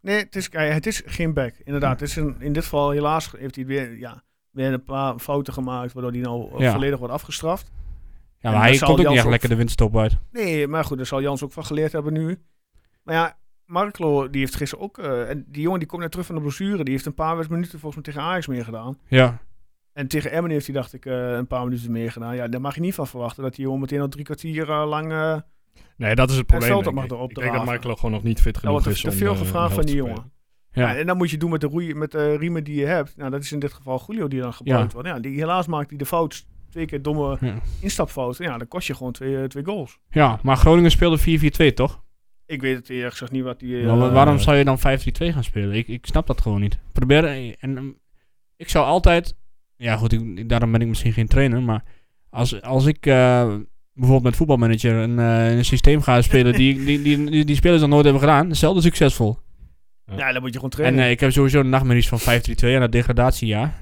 Nee, het is, eh, het is geen back. Inderdaad, het is een, in dit geval helaas heeft hij weer, ja, weer een paar fouten gemaakt. Waardoor hij nou eh, Ja. volledig wordt afgestraft. Ja, En maar dan hij zal komt ook niet Jans echt ook- lekker de winststop uit. Nee, maar goed, daar zal Jans ook van geleerd hebben nu. Maar ja, Marklo, die heeft gisteren ook... eh, en die jongen die komt net terug van de blessure. Die heeft een paar minuten volgens mij tegen Ajax meer gedaan. Ja. En tegen Emmen heeft hij, dacht ik, eh, een paar minuten meer gedaan. Ja, daar mag je niet van verwachten dat die jongen meteen al drie kwartier eh, lang... eh, Nee, dat is het probleem. veld denk mag ik. erop Ik denk dat draven. Markelo gewoon nog niet fit daar genoeg wordt er is. te om, veel eh, gevraagd helft van te die spelen. jongen. Ja. Ja, en dan moet je doen met de, roeien, met de riemen die je hebt. Nou, dat is in dit geval Julio die dan gebruikt wordt. Nou Ja, die, helaas maakt hij de fout. Twee keer domme Ja. instapfouten. Ja, dan kost je gewoon twee, eh, twee goals. ja, maar Groningen speelde 4-4-2, toch? Ik weet het eerlijk gezegd niet wat die... eh, Maar wa- waarom zou je dan 5-3-2 gaan spelen? Ik, ik snap dat gewoon niet. Probeer. eh, En, ehm, ik zou altijd. Ja, goed, ik- ik- daarom ben ik misschien geen trainer. Maar als, als ik eh, bijvoorbeeld met voetbalmanager een, eh, een systeem ga spelen. *laughs* die, die, die, die, die spelers nog nooit hebben gedaan. zelden succesvol. ja, dan moet je gewoon En trainen. eh, ik heb sowieso de nachtmerries van 5-3-2 en dat degradatiejaar.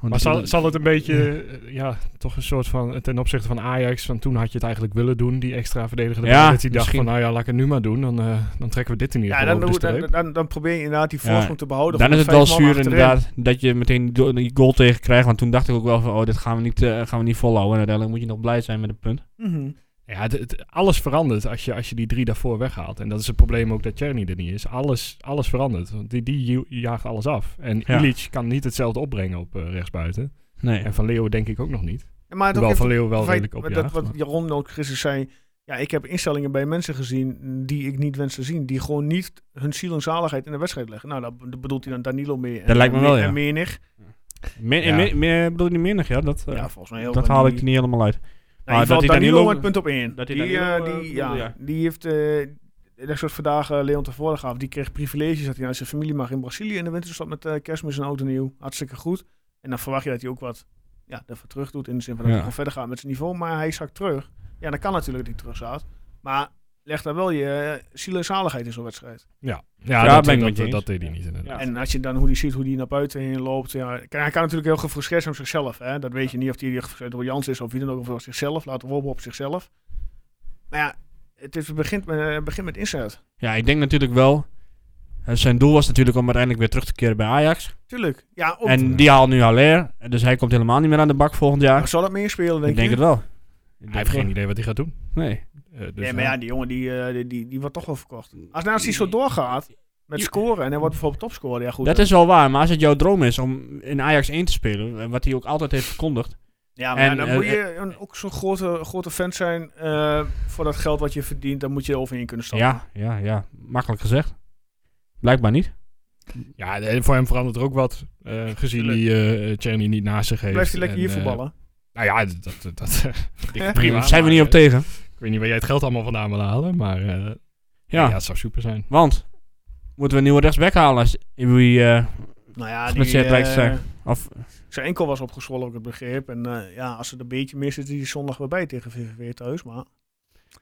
Want Maar zal, dat- zal het een beetje, eh, ja, toch een soort van, ten opzichte van Ajax, van toen had je het eigenlijk willen doen, die extra verdediger. Ja, dat hij dacht misschien. van, nou ja, laat ik het nu maar doen, dan, eh, dan trekken we dit in ieder Ja, geval dan, over de dan, streep. dan, dan, dan probeer je inderdaad die Ja, voorsprong te behouden. dan van is de het wel vijf man zuur achterin. inderdaad dat je meteen die do- die goal tegen krijgt. Want toen dacht ik ook wel van, oh, dit gaan we niet, eh, gaan we niet volhouden. En uiteindelijk moet je nog blij zijn met een punt. Mhm. Ja, het, het- alles verandert als je, als je die drie daarvoor weghaalt. En dat is het probleem ook dat Tjerni er niet is. Alles, alles verandert, want die, die ju- jaagt alles af. En Ja. Ilic kan niet hetzelfde opbrengen op eh, rechtsbuiten. Nee. En Van Leeuwen denk ik ook nog niet. Ja, maar het ook Hoewel even- Van Leeuwen wel het feit redelijk op dat Wat Jaron ook gisteren zei. Ja, ik heb instellingen bij mensen gezien die ik niet wens te zien. Die gewoon niet hun ziel en zaligheid in de wedstrijd leggen. Nou, daar b- daar bedoelt hij dan Danilo mee. en- Dat lijkt me en- wel, ja. En menig. Meer, Ja. meer, meer- bedoel je niet menig, ja? Dat, eh, Ja, volgens mij heel dat van haal die- ik er niet helemaal uit. Nou, in Ah, ieder dat geval hij Danilo, Danilo- het punt op één. dat hij die, Danilo, eh, eh, die, ja, bedoelde, ja. die heeft, eh dat soort vandaag eh, Leon tevoren gaf, die kreeg privileges dat hij naar zijn familie mag in Brazilië in de winterstop met eh, kerstmis en oud en nieuw. Hartstikke goed. En dan verwacht je dat hij ook wat ja, ervoor terug doet, in de zin van dat Ja. hij gewoon verder gaat met zijn niveau, maar hij zakt terug. Ja, dat kan natuurlijk dat hij terug zakt, maar leg daar wel je eh, ziel en zaligheid in zo'n wedstrijd. Ja, ja, daar dat, ben ik dat, met je dat, eens. deed hij niet inderdaad. Ja. En als je dan hoe hij ziet, hoe hij naar buiten heen loopt. Ja, hij kan- hij kan natuurlijk heel gefrustreerd zijn op zichzelf. Hè? Dat weet je niet of hij gefrustreerd door Jans is of wie dan ook. Of door zichzelf. Laten we hopen op zichzelf. Maar ja, het, is, het begint, met, het begint met inzet. Ja, ik denk natuurlijk wel. eh, Eh, zijn doel was natuurlijk om uiteindelijk weer terug te keren bij Ajax. Tuurlijk. Ja, op, En die haalt nu Haller. Dus hij komt helemaal niet meer aan de bak volgend jaar. Nou, zal het meer spelen, denk ik denk je? het wel. Ik denk Hij het heeft geen wel. idee wat hij gaat doen. Nee. Eh, dus, nee, maar ja, die jongen die, eh, die, die, die wordt toch wel verkocht. Als Nazi zo doorgaat met Je- scoren en hij wordt bijvoorbeeld topscorer, ja goed. Dat eh, is wel waar. Maar als het jouw droom is om in Ajax 1 te spelen, en wat hij ook altijd heeft verkondigd. ja, maar ja, en, dan eh, moet je een- ook zo'n grote, grote fan zijn eh, voor dat geld wat je verdient. Dan moet je overheen kunnen stappen. Ja, ja, ja. Makkelijk gezegd. Blijkbaar niet. Ja, en voor hem verandert er ook wat. eh, gezien die eh Tjerni niet naast zich heeft. Blijft dus, hij lekker En, hier eh, voetballen? nou ja, dat... dat, dat *laughs* Ja. Prima. maar- Zijn we niet op maar, eh, tegen. Ik weet niet waar jij het geld allemaal vandaan wil halen, maar... eh, ja. Ja. het zou super zijn. Want moeten we een nieuwe rechtsback halen als wie eh, nou ja, geblesseerd eh, lijkt te zijn. Of, zijn enkel was opgezwollen, ook het begrip. En eh, ja, als ze het een beetje missen, is die zondag weer bij tegen VVV thuis. Maar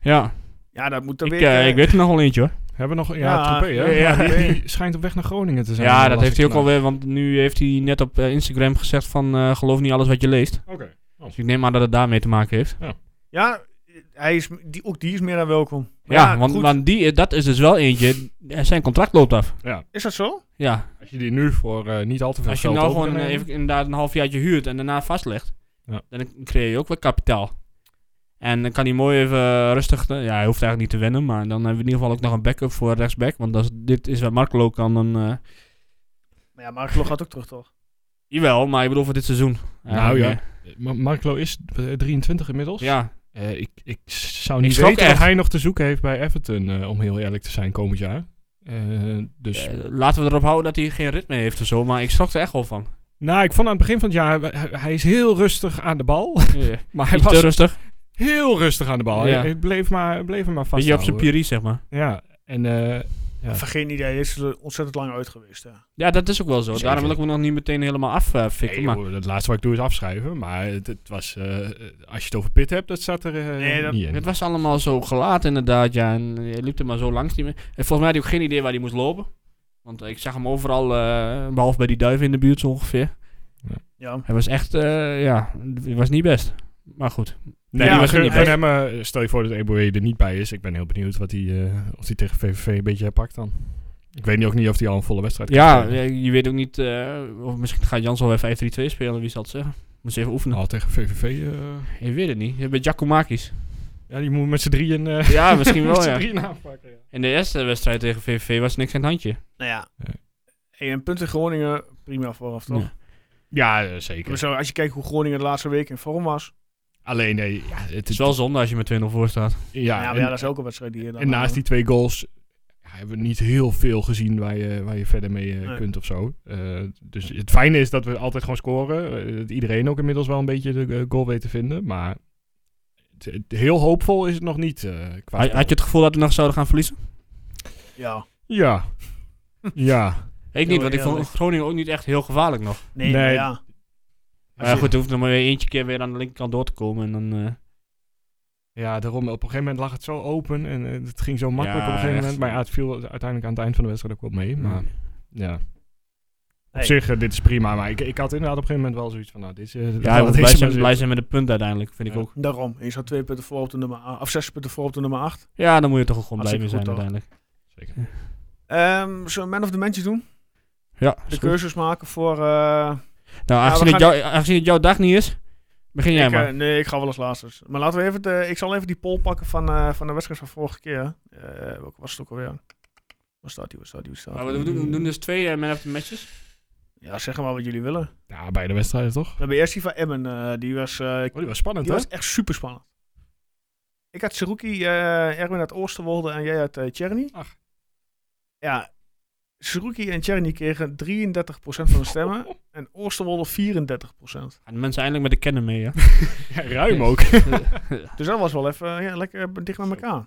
ja, ja, dat moet dan ik, weer... eh, eh, ik weet er nog wel eentje hoor. Hebben we nog... Ja, Ja, Troepé, hè? ja, Maar die, Troepé. die schijnt op weg naar Groningen te zijn. ja, eh, dat las heeft ik hij ook vandaag. alweer, want nu heeft hij net op eh, Instagram gezegd van eh, geloof niet alles wat je leest. Oké. Dus ik neem aan dat het daarmee te maken heeft. Ja, hij is, die, ook die is meer dan welkom. Maar Ja, want, goed, want die, eh, dat is dus wel eentje. eh, Zijn contract loopt af. Is dat zo? Ja, Als je die nu voor eh, niet al te veel als je hem geld nou over gewoon kan eh, nemen. even, inderdaad een halfjaartje huurt en daarna vastlegt, Ja. dan creëer je ook weer kapitaal. En dan kan hij mooi even eh, rustig, eh, ja, hij hoeft eigenlijk niet te wennen, maar dan hebben we in ieder geval ook nog een backup voor rechtsback. Want als dit is wat Marco kan, dan... eh, Maar ja, Marco gaat ook terug, toch? jawel, maar ik bedoel voor dit seizoen. Nou ja. Eh, Ma- Marco is eh, 23 inmiddels. Ja, Eh, ik, ik zou Ik niet schrok weten wat echt. hij nog te zoeken heeft bij Everton, eh, om heel eerlijk te zijn, komend jaar. Eh, dus, eh, laten we erop houden dat hij geen ritme heeft of zo, maar ik schrok er echt wel *laughs* van. nou, ik vond aan het begin van het jaar, eh, hij, hij is heel rustig aan de bal. *laughs* Ja. Maar hij Iets te was rustig. heel rustig aan de bal. Ja. Hij- Hij bleef maar, bleef hem maar Beetje op vasthouden. zijn piri, zeg maar. Ja, en eh, Ja. Vergeet niet, hij is er ontzettend lang uit geweest. Hè. Ja, dat is ook wel zo. Zeker. Daarom wil ik me nog niet meteen helemaal affikken. nee, maar joh, het laatste wat ik doe is afschrijven. Maar het, het was, eh, eh, als je het over Pit hebt, dat staat er eh, Nee, dat- niet in. het was allemaal zo gelaat inderdaad, ja. En je liep er maar zo langs. Die me- en volgens mij had hij ook geen idee waar hij moest lopen. Want ik zag hem overal, eh, behalve bij die duiven in de buurt zo ongeveer. Ja. nou Hij was echt, eh, ja, het was niet best. Maar goed. Nee, Ja, die was gun- niet gun bij hem. eh, stel je voor dat Eboe er niet bij is. Ik ben heel benieuwd wat hij, eh, of hij tegen VVV een beetje herpakt dan. Ik weet niet ook niet of hij al een volle wedstrijd kan Ja, spelen. eh, je weet ook niet, eh, of misschien gaat Jans alweer 5-3-2 spelen, wie zal het zeggen. Moet ze even oefenen. Al tegen VVV. eh, Ik weet het niet. Je bent Giacomakis. ja, die moet met z'n drieën, eh, *laughs* Ja, misschien met wel, z'n ja. drieën aanpakken. Ja. *laughs* In de eerste wedstrijd tegen VVV was niks aan het handje. Nou ja. Ja. Hey, en punten Groningen, prima vooraf, toch? Ja. Ja, eh, Maar zeker. zo, als je kijkt hoe Groningen de laatste week in vorm was. Alleen, nee, ja, het Het is is wel zonde als je met 2-0 voor staat. Ja, nou Ja, maar en, ja, dat is ook een wedstrijd die je dan... eh, en naast die twee goals ja, hebben we niet heel veel gezien waar je, waar je verder mee eh, Nee. kunt of zo. Eh, dus het fijne is dat we altijd gewoon scoren. Eh, dat iedereen ook inmiddels wel een beetje de eh, goal weet te vinden. Maar het, het- heel hoopvol is het nog niet. eh qua Had, spel. had je het gevoel dat we nog zouden gaan verliezen? Ja. *laughs* Ja. ja. Ik niet, want ik heel vond eerlijk. Groningen ook niet echt heel gevaarlijk nog. Nee, Nee. maar ja. Maar ja, goed, er hoeft nog maar weer eentje keer weer aan de linkerkant door te komen. En dan, eh, Ja, daarom op een gegeven moment lag het zo open en eh, het ging zo makkelijk Ja, op een gegeven echt. Mm. moment. Maar ja, het viel uiteindelijk aan het eind van de wedstrijd ook wel mee. Maar ja, op Hey. zich, eh, dit is prima. Maar ik, ik had inderdaad op een gegeven moment wel zoiets van, nou, dit is... eh, *laughs* dit ja, gaat hij deze moet blij zijn, maar blij zitten. zijn met een punt uiteindelijk, vind ik Ja. ook. Daarom. Je zat twee punten voor op de nummer... a- Of zes punten voor op de nummer acht. Ja, dan moet je toch ook gewoon blij mee Hartstikke zijn goed, uiteindelijk. Zeker. Ehm zullen we Man of the Matches doen? Ja, De is goed. keuzes maken voor... eh, Nou, Ja, aangezien, we het gaan- jou, aangezien het jouw dag niet is, begin jij ik, eh, maar. nee, ik ga wel als laatste. Maar laten we even... De, ik zal even die poll pakken van, eh, van de wedstrijd van vorige keer. Eh welke was het ook alweer? Waar staat die? Waar staat die? Waar staat Nou, die? we, doen, we doen dus twee eh, man of the matches. Ja, zeg maar wat jullie willen. Ja, bij de wedstrijden toch? We hebben eerst die van Emmen. eh, die was, eh, Oh, die was spannend, die hè? was echt super spannend. Ik had Seruki, eh, Erwin uit Oosterwolde en jij uit eh Tjerni. Ach. Ja, Seruki en Tjerni kregen 33% van de stemmen. *laughs* en Oosterwolde 34%. Gaan de mensen eindelijk met de kennen mee, ja. Ja, ruim ook. Dus dat was wel even eh, ja, lekker dicht bij elkaar.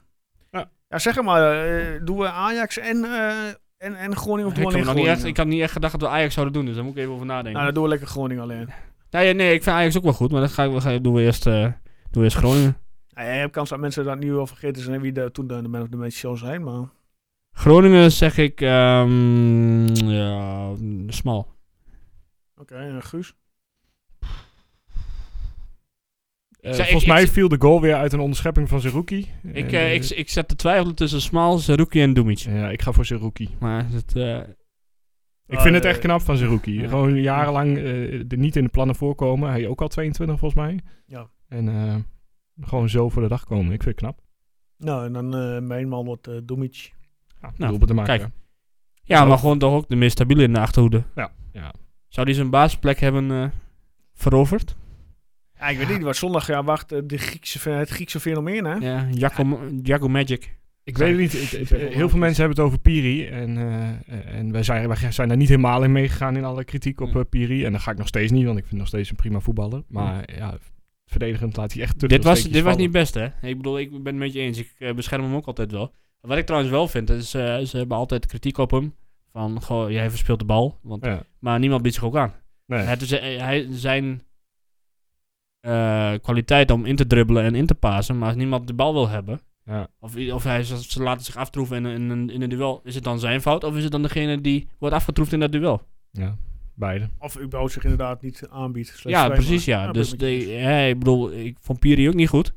Ja. Ja, zeg maar, eh, doen we Ajax en, eh, en, en Groningen ik, of doen we alleen heb nog niet Groningen? echt, ik had niet echt gedacht dat we Ajax zouden doen, dus daar moet ik even over nadenken. Nou, dan doen we lekker Groningen alleen. Nou ja, nee, ik vind Ajax ook wel goed, maar dat ga ik, ga, doen, we eerst, eh, doen we eerst Groningen. Ja, je hebt kans dat mensen dat nu al vergeten zijn wie de, toen de, de man of the match zou zijn, maar... Groningen zeg ik, ehm ja, mm, smal. eh, Oké, en Guus? Eh, zei- volgens ik- mij ik- viel de goal weer uit een onderschepping van Zerouki. Ik, Eh, eh, ik, ik zat te twijfelen tussen Smal, Zerouki en Dumic. ja, ik ga voor Zerouki. Maar het, eh, Ik Ah, vind het eh, echt knap van Zerouki. ja. Gewoon jarenlang eh, er niet in de plannen voorkomen. Hij ook al 22 volgens mij. Ja. En eh, gewoon zo voor de dag komen. Ik vind het knap. Nou, en dan eh, mijn man wordt eh Dumic. Ja, Nou, doelpunt te maken. kijk. ja, maar gewoon toch ook de meest stabiele in de achterhoede. Ja, ja. Zou die zijn basisplek hebben eh, veroverd? Ja, ik weet niet wat zondag ja, wacht eh, de Griekse, fe- het Griekse fenomeen, hè? Ja, Jaco, Jaco Magic. Ik weet het niet. Het- het- zeg wel heel veel wel. mensen hebben het over Piri. En, eh, en wij, zijn, wij zijn daar niet helemaal in meegegaan in alle kritiek op Ja. eh, Piri. En dat ga ik nog steeds niet, want ik vind hem nog steeds een prima voetballer. Maar ja, verdedigend laat hij echt te Dit, veel was, steekjes dit was vallen. niet best, hè? Ik bedoel, ik ben het met je eens. Ik eh, bescherm hem ook altijd wel. Wat ik trouwens wel vind, is eh, ze hebben altijd kritiek op hem. Van, goh, jij verspeelt de bal. Want, Ja. Maar niemand biedt zich ook aan. Nee. Het is, eh, hij, zijn eh, kwaliteit om in te dribbelen en in te pasen, maar als niemand de bal wil hebben, Ja. of, i- of hij, ze ze laten zich aftroeven in, een- in, een- in een duel, is het dan zijn fout of is het dan degene die wordt afgetroefd in dat duel? Ja, beide. Of überhaupt zich inderdaad niet aanbiedt. Slechts ja, twee, precies, maar- ja. ben dus ik met je de, eens. ja, ik bedoel, ik vond Piri ook niet goed,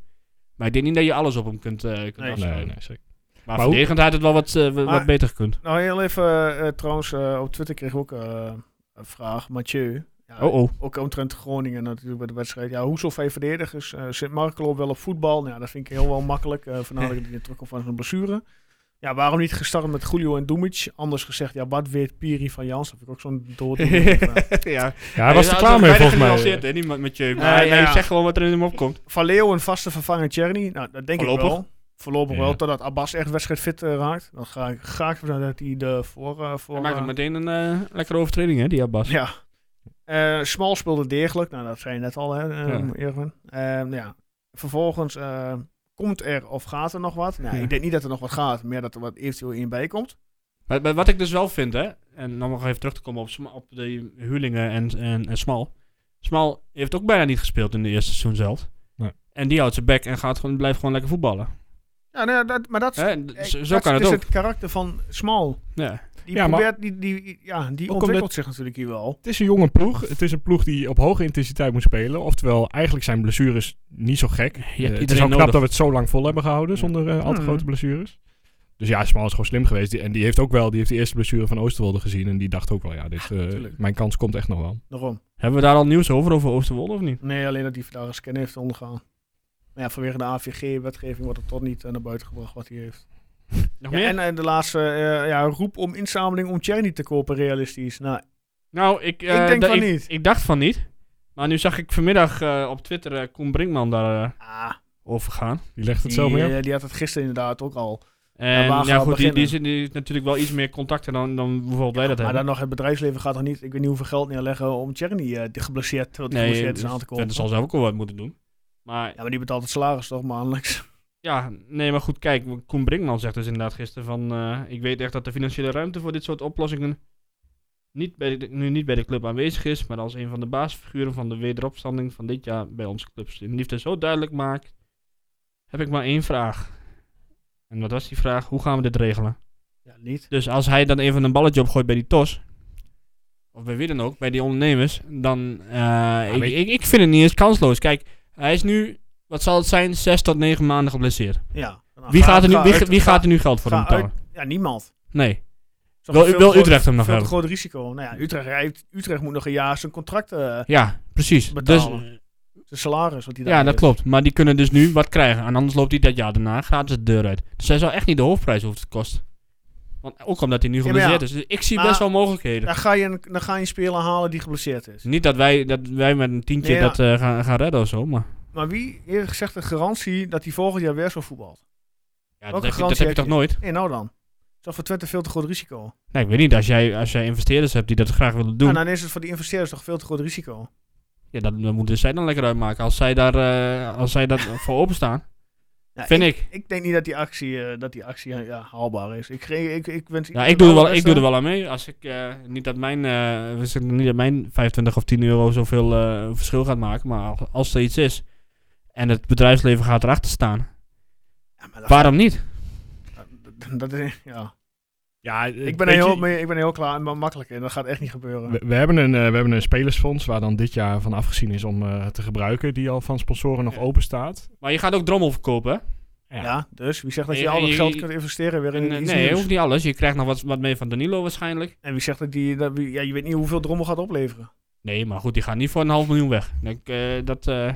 maar ik denk niet dat je alles op hem kunt, eh kunt Nee. Nee, afsluiten. nee, zeker. Maar Maar, hoe- verdedigend had het wel wat, eh, w- Maar- wat beter gekund. Nou, heel even, eh, trouwens, eh, op Twitter kreeg ik ook eh, een vraag. Mathieu. Ja, Oh, oh. Ook omtrent Groningen natuurlijk bij de wedstrijd. Ja, hoe zoveel verdedigers? eh zit Markelo wel op voetbal? Nou, ja, dat vind ik heel wel makkelijk. eh Vanavond dat hij terugkomt van zijn blessure. Ja, waarom niet gestart met Julio en Dumic? Anders gezegd, ja, wat weet Piri van Jans? Dat vind ik ook zo'n dood. *laughs* ja. Ja, hij was er klaar mee volgens mij. Hè, niet met- met je, Nee, maar hij- nou hij ja. zegt gewoon wat er in hem opkomt. van Leeuw een vaste vervanger Tjerni? Nou, dat denk ik Voorlopig. wel. Voorlopig Ja. wel, totdat Abbas echt wedstrijdfit fit eh, raakt. Dan ga ik graag vanuit dat hij de voor... eh, voor Hij maakt eh, hem meteen een eh, lekkere overtreding, hè, die Abbas. Ja. Eh Smal speelde degelijk. Nou, dat zei je net al, hè, eh, Ja. Erwin. Ehm, ja. Vervolgens eh, komt er of gaat er nog wat? Nou, Ja. ik denk niet dat er nog wat gaat. Meer dat er wat eventueel in bij komt. Maar, maar wat ik dus wel vind, hè, en om nog even terug te komen op, Sma- op de Hulingen en, en, en Smal. Smal heeft ook bijna niet gespeeld in de eerste seizoen zelf. Nee. En die houdt zijn bek en gaat gewoon, blijft gewoon lekker voetballen. Ja, nou, ja, dat, maar dat, Hè, en eh, zo- zo dat kan het is ook. het karakter van Smal. Ja. Die, Ja, maar- probeert, die, die, ja, die omdat- ontwikkelt zich natuurlijk hier wel. Het is een jonge ploeg. Het is een ploeg die op hoge intensiteit moet spelen. Oftewel, eigenlijk zijn blessures niet zo gek. hebt Eh, het is iedereen ook knap nodig. dat we het zo lang vol hebben gehouden Ja. zonder eh, al te Mhm. grote blessures. Dus ja, Smal is gewoon slim geweest. Die- En die heeft ook wel, die heeft de eerste blessure van Oosterwolde gezien. En die dacht ook wel, ja, dit, eh, natuurlijk. mijn kans komt echt nog wel. Daarom. Hebben we daar al nieuws over, over Oosterwolde of niet? Nee, alleen dat hij vandaag een scan heeft ondergaan. Maar ja, vanwege de AVG-wetgeving wordt het tot niet eh, naar buiten gebracht wat hij heeft. Nog Ja, meer? en eh, de laatste eh, ja, roep om inzameling om Tjerni te kopen, realistisch. Nou, nou, ik, eh, Ik denk da- van niet. Ik dacht van niet. Maar nu zag ik vanmiddag eh, op Twitter eh, Koen Brinkman daarover ah, over gaan. Die legt het die, zelf mee op. eh, die had het gisteren inderdaad ook al. En waar ja, gaan we goed, die, die, beginnen? zit- die heeft natuurlijk wel iets meer contacten dan, dan bijvoorbeeld wij dat Maar hebben. dan nog, het bedrijfsleven gaat er niet, ik weet niet hoeveel geld neerleggen om Tjerni eh, die geblesseerd, terwijl die geblesseerd is aan te komen. Twente dus zal zelf ook wel wat moeten doen. Maar Ja, maar die betaalt het salaris toch maandelijks. *laughs* ja, nee, maar goed, kijk, Koen Brinkman zegt dus inderdaad gisteren van... eh, ik weet echt dat de financiële ruimte voor dit soort oplossingen niet bij de, nu niet bij de club aanwezig is... maar als een van de basisfiguren van de wederopstanding van dit jaar bij onze clubs in liefde dus zo duidelijk maakt... heb ik maar één vraag. En wat was die vraag? Hoe gaan we dit regelen? Ja, niet. Dus als hij dan even een balletje opgooit bij die TOS... Of bij wie dan ook, bij die ondernemers, dan... eh, ik, weet je- ik, ik vind het niet eens kansloos. Kijk, hij is nu, wat zal het zijn, zes tot negen maanden geblesseerd. Ja. Nou, Wie ga- gaat er nu, ga wie, uit- wie ga- gaat er nu geld voor ga hem betalen? uit- Ja, niemand. Nee. Zo'n Wil- veel wil te groot- Utrecht hem nog veel te hebben? groot risico. Nou ja, Utrecht, rijdt- Utrecht moet nog een jaar zijn contract, eh, Ja, precies. Dus, Betalen. zijn salaris. Wat hij daar ja, dat heeft. klopt. Maar die kunnen dus nu wat krijgen. En anders loopt hij dat jaar daarna gratis de deur uit. Dus hij zou echt niet de hoofdprijs hoeven te kosten. Want, ook omdat hij nu maar geblesseerd ja. is. Dus ik zie Maar- best wel mogelijkheden. Dan ga, je een, dan ga je een speler halen die geblesseerd is. Niet dat wij, dat wij met een tientje Nee, ja. dat eh, gaan, gaan redden of zo, maar... Maar wie heeft gezegd de garantie dat hij volgend jaar weer zo voetbalt? Ja, dat Welke heb, je, dat garantie heb je heb toch nooit? Nee, nou dan. Dat is voor Twente veel te groot risico. Nee, ik weet niet. Als jij, als jij investeerders hebt die dat graag willen doen... En dan is het voor die investeerders toch veel te groot risico. Ja, dat, dan moeten zij dan lekker uitmaken. Als zij daar, eh, als zij daar *laughs* voor openstaan, Ja, vind ik. Ik denk niet dat die actie, eh, dat die actie eh, ja, haalbaar is. Ik, ge- ik, ik wens Ja, Nou, ik doe, er wel, ik doe er wel aan mee. Als ik eh, niet dat mijn, eh, we zeggen niet dat mijn 25 of 10 euro zoveel eh, verschil gaat maken, maar al- als er iets is en het bedrijfsleven gaat erachter staan, Ja, maar dat, waarom niet? dat, dat is, ja. Ja, Ik ben, er heel, mee- ik ben er heel klaar en makkelijk in. Dat gaat echt niet gebeuren. Eh, We, we hebben een, eh, we hebben een spelersfonds waar dan dit jaar van afgezien is om eh, te gebruiken, die al van sponsoren nog open staat. Maar je gaat ook drommel verkopen, hè? ja. ja. dus wie zegt dat je Eh, al dat eh, geld eh, kunt investeren weer in En, eh, iets nee, nieuws? hoeft niet alles. Je krijgt nog wat, wat mee van Danilo waarschijnlijk. En wie zegt dat die... Dat, wie- ja, je weet niet hoeveel drommel gaat opleveren. Nee, maar goed, die gaan niet voor een half miljoen weg. Ik, eh, dat, eh,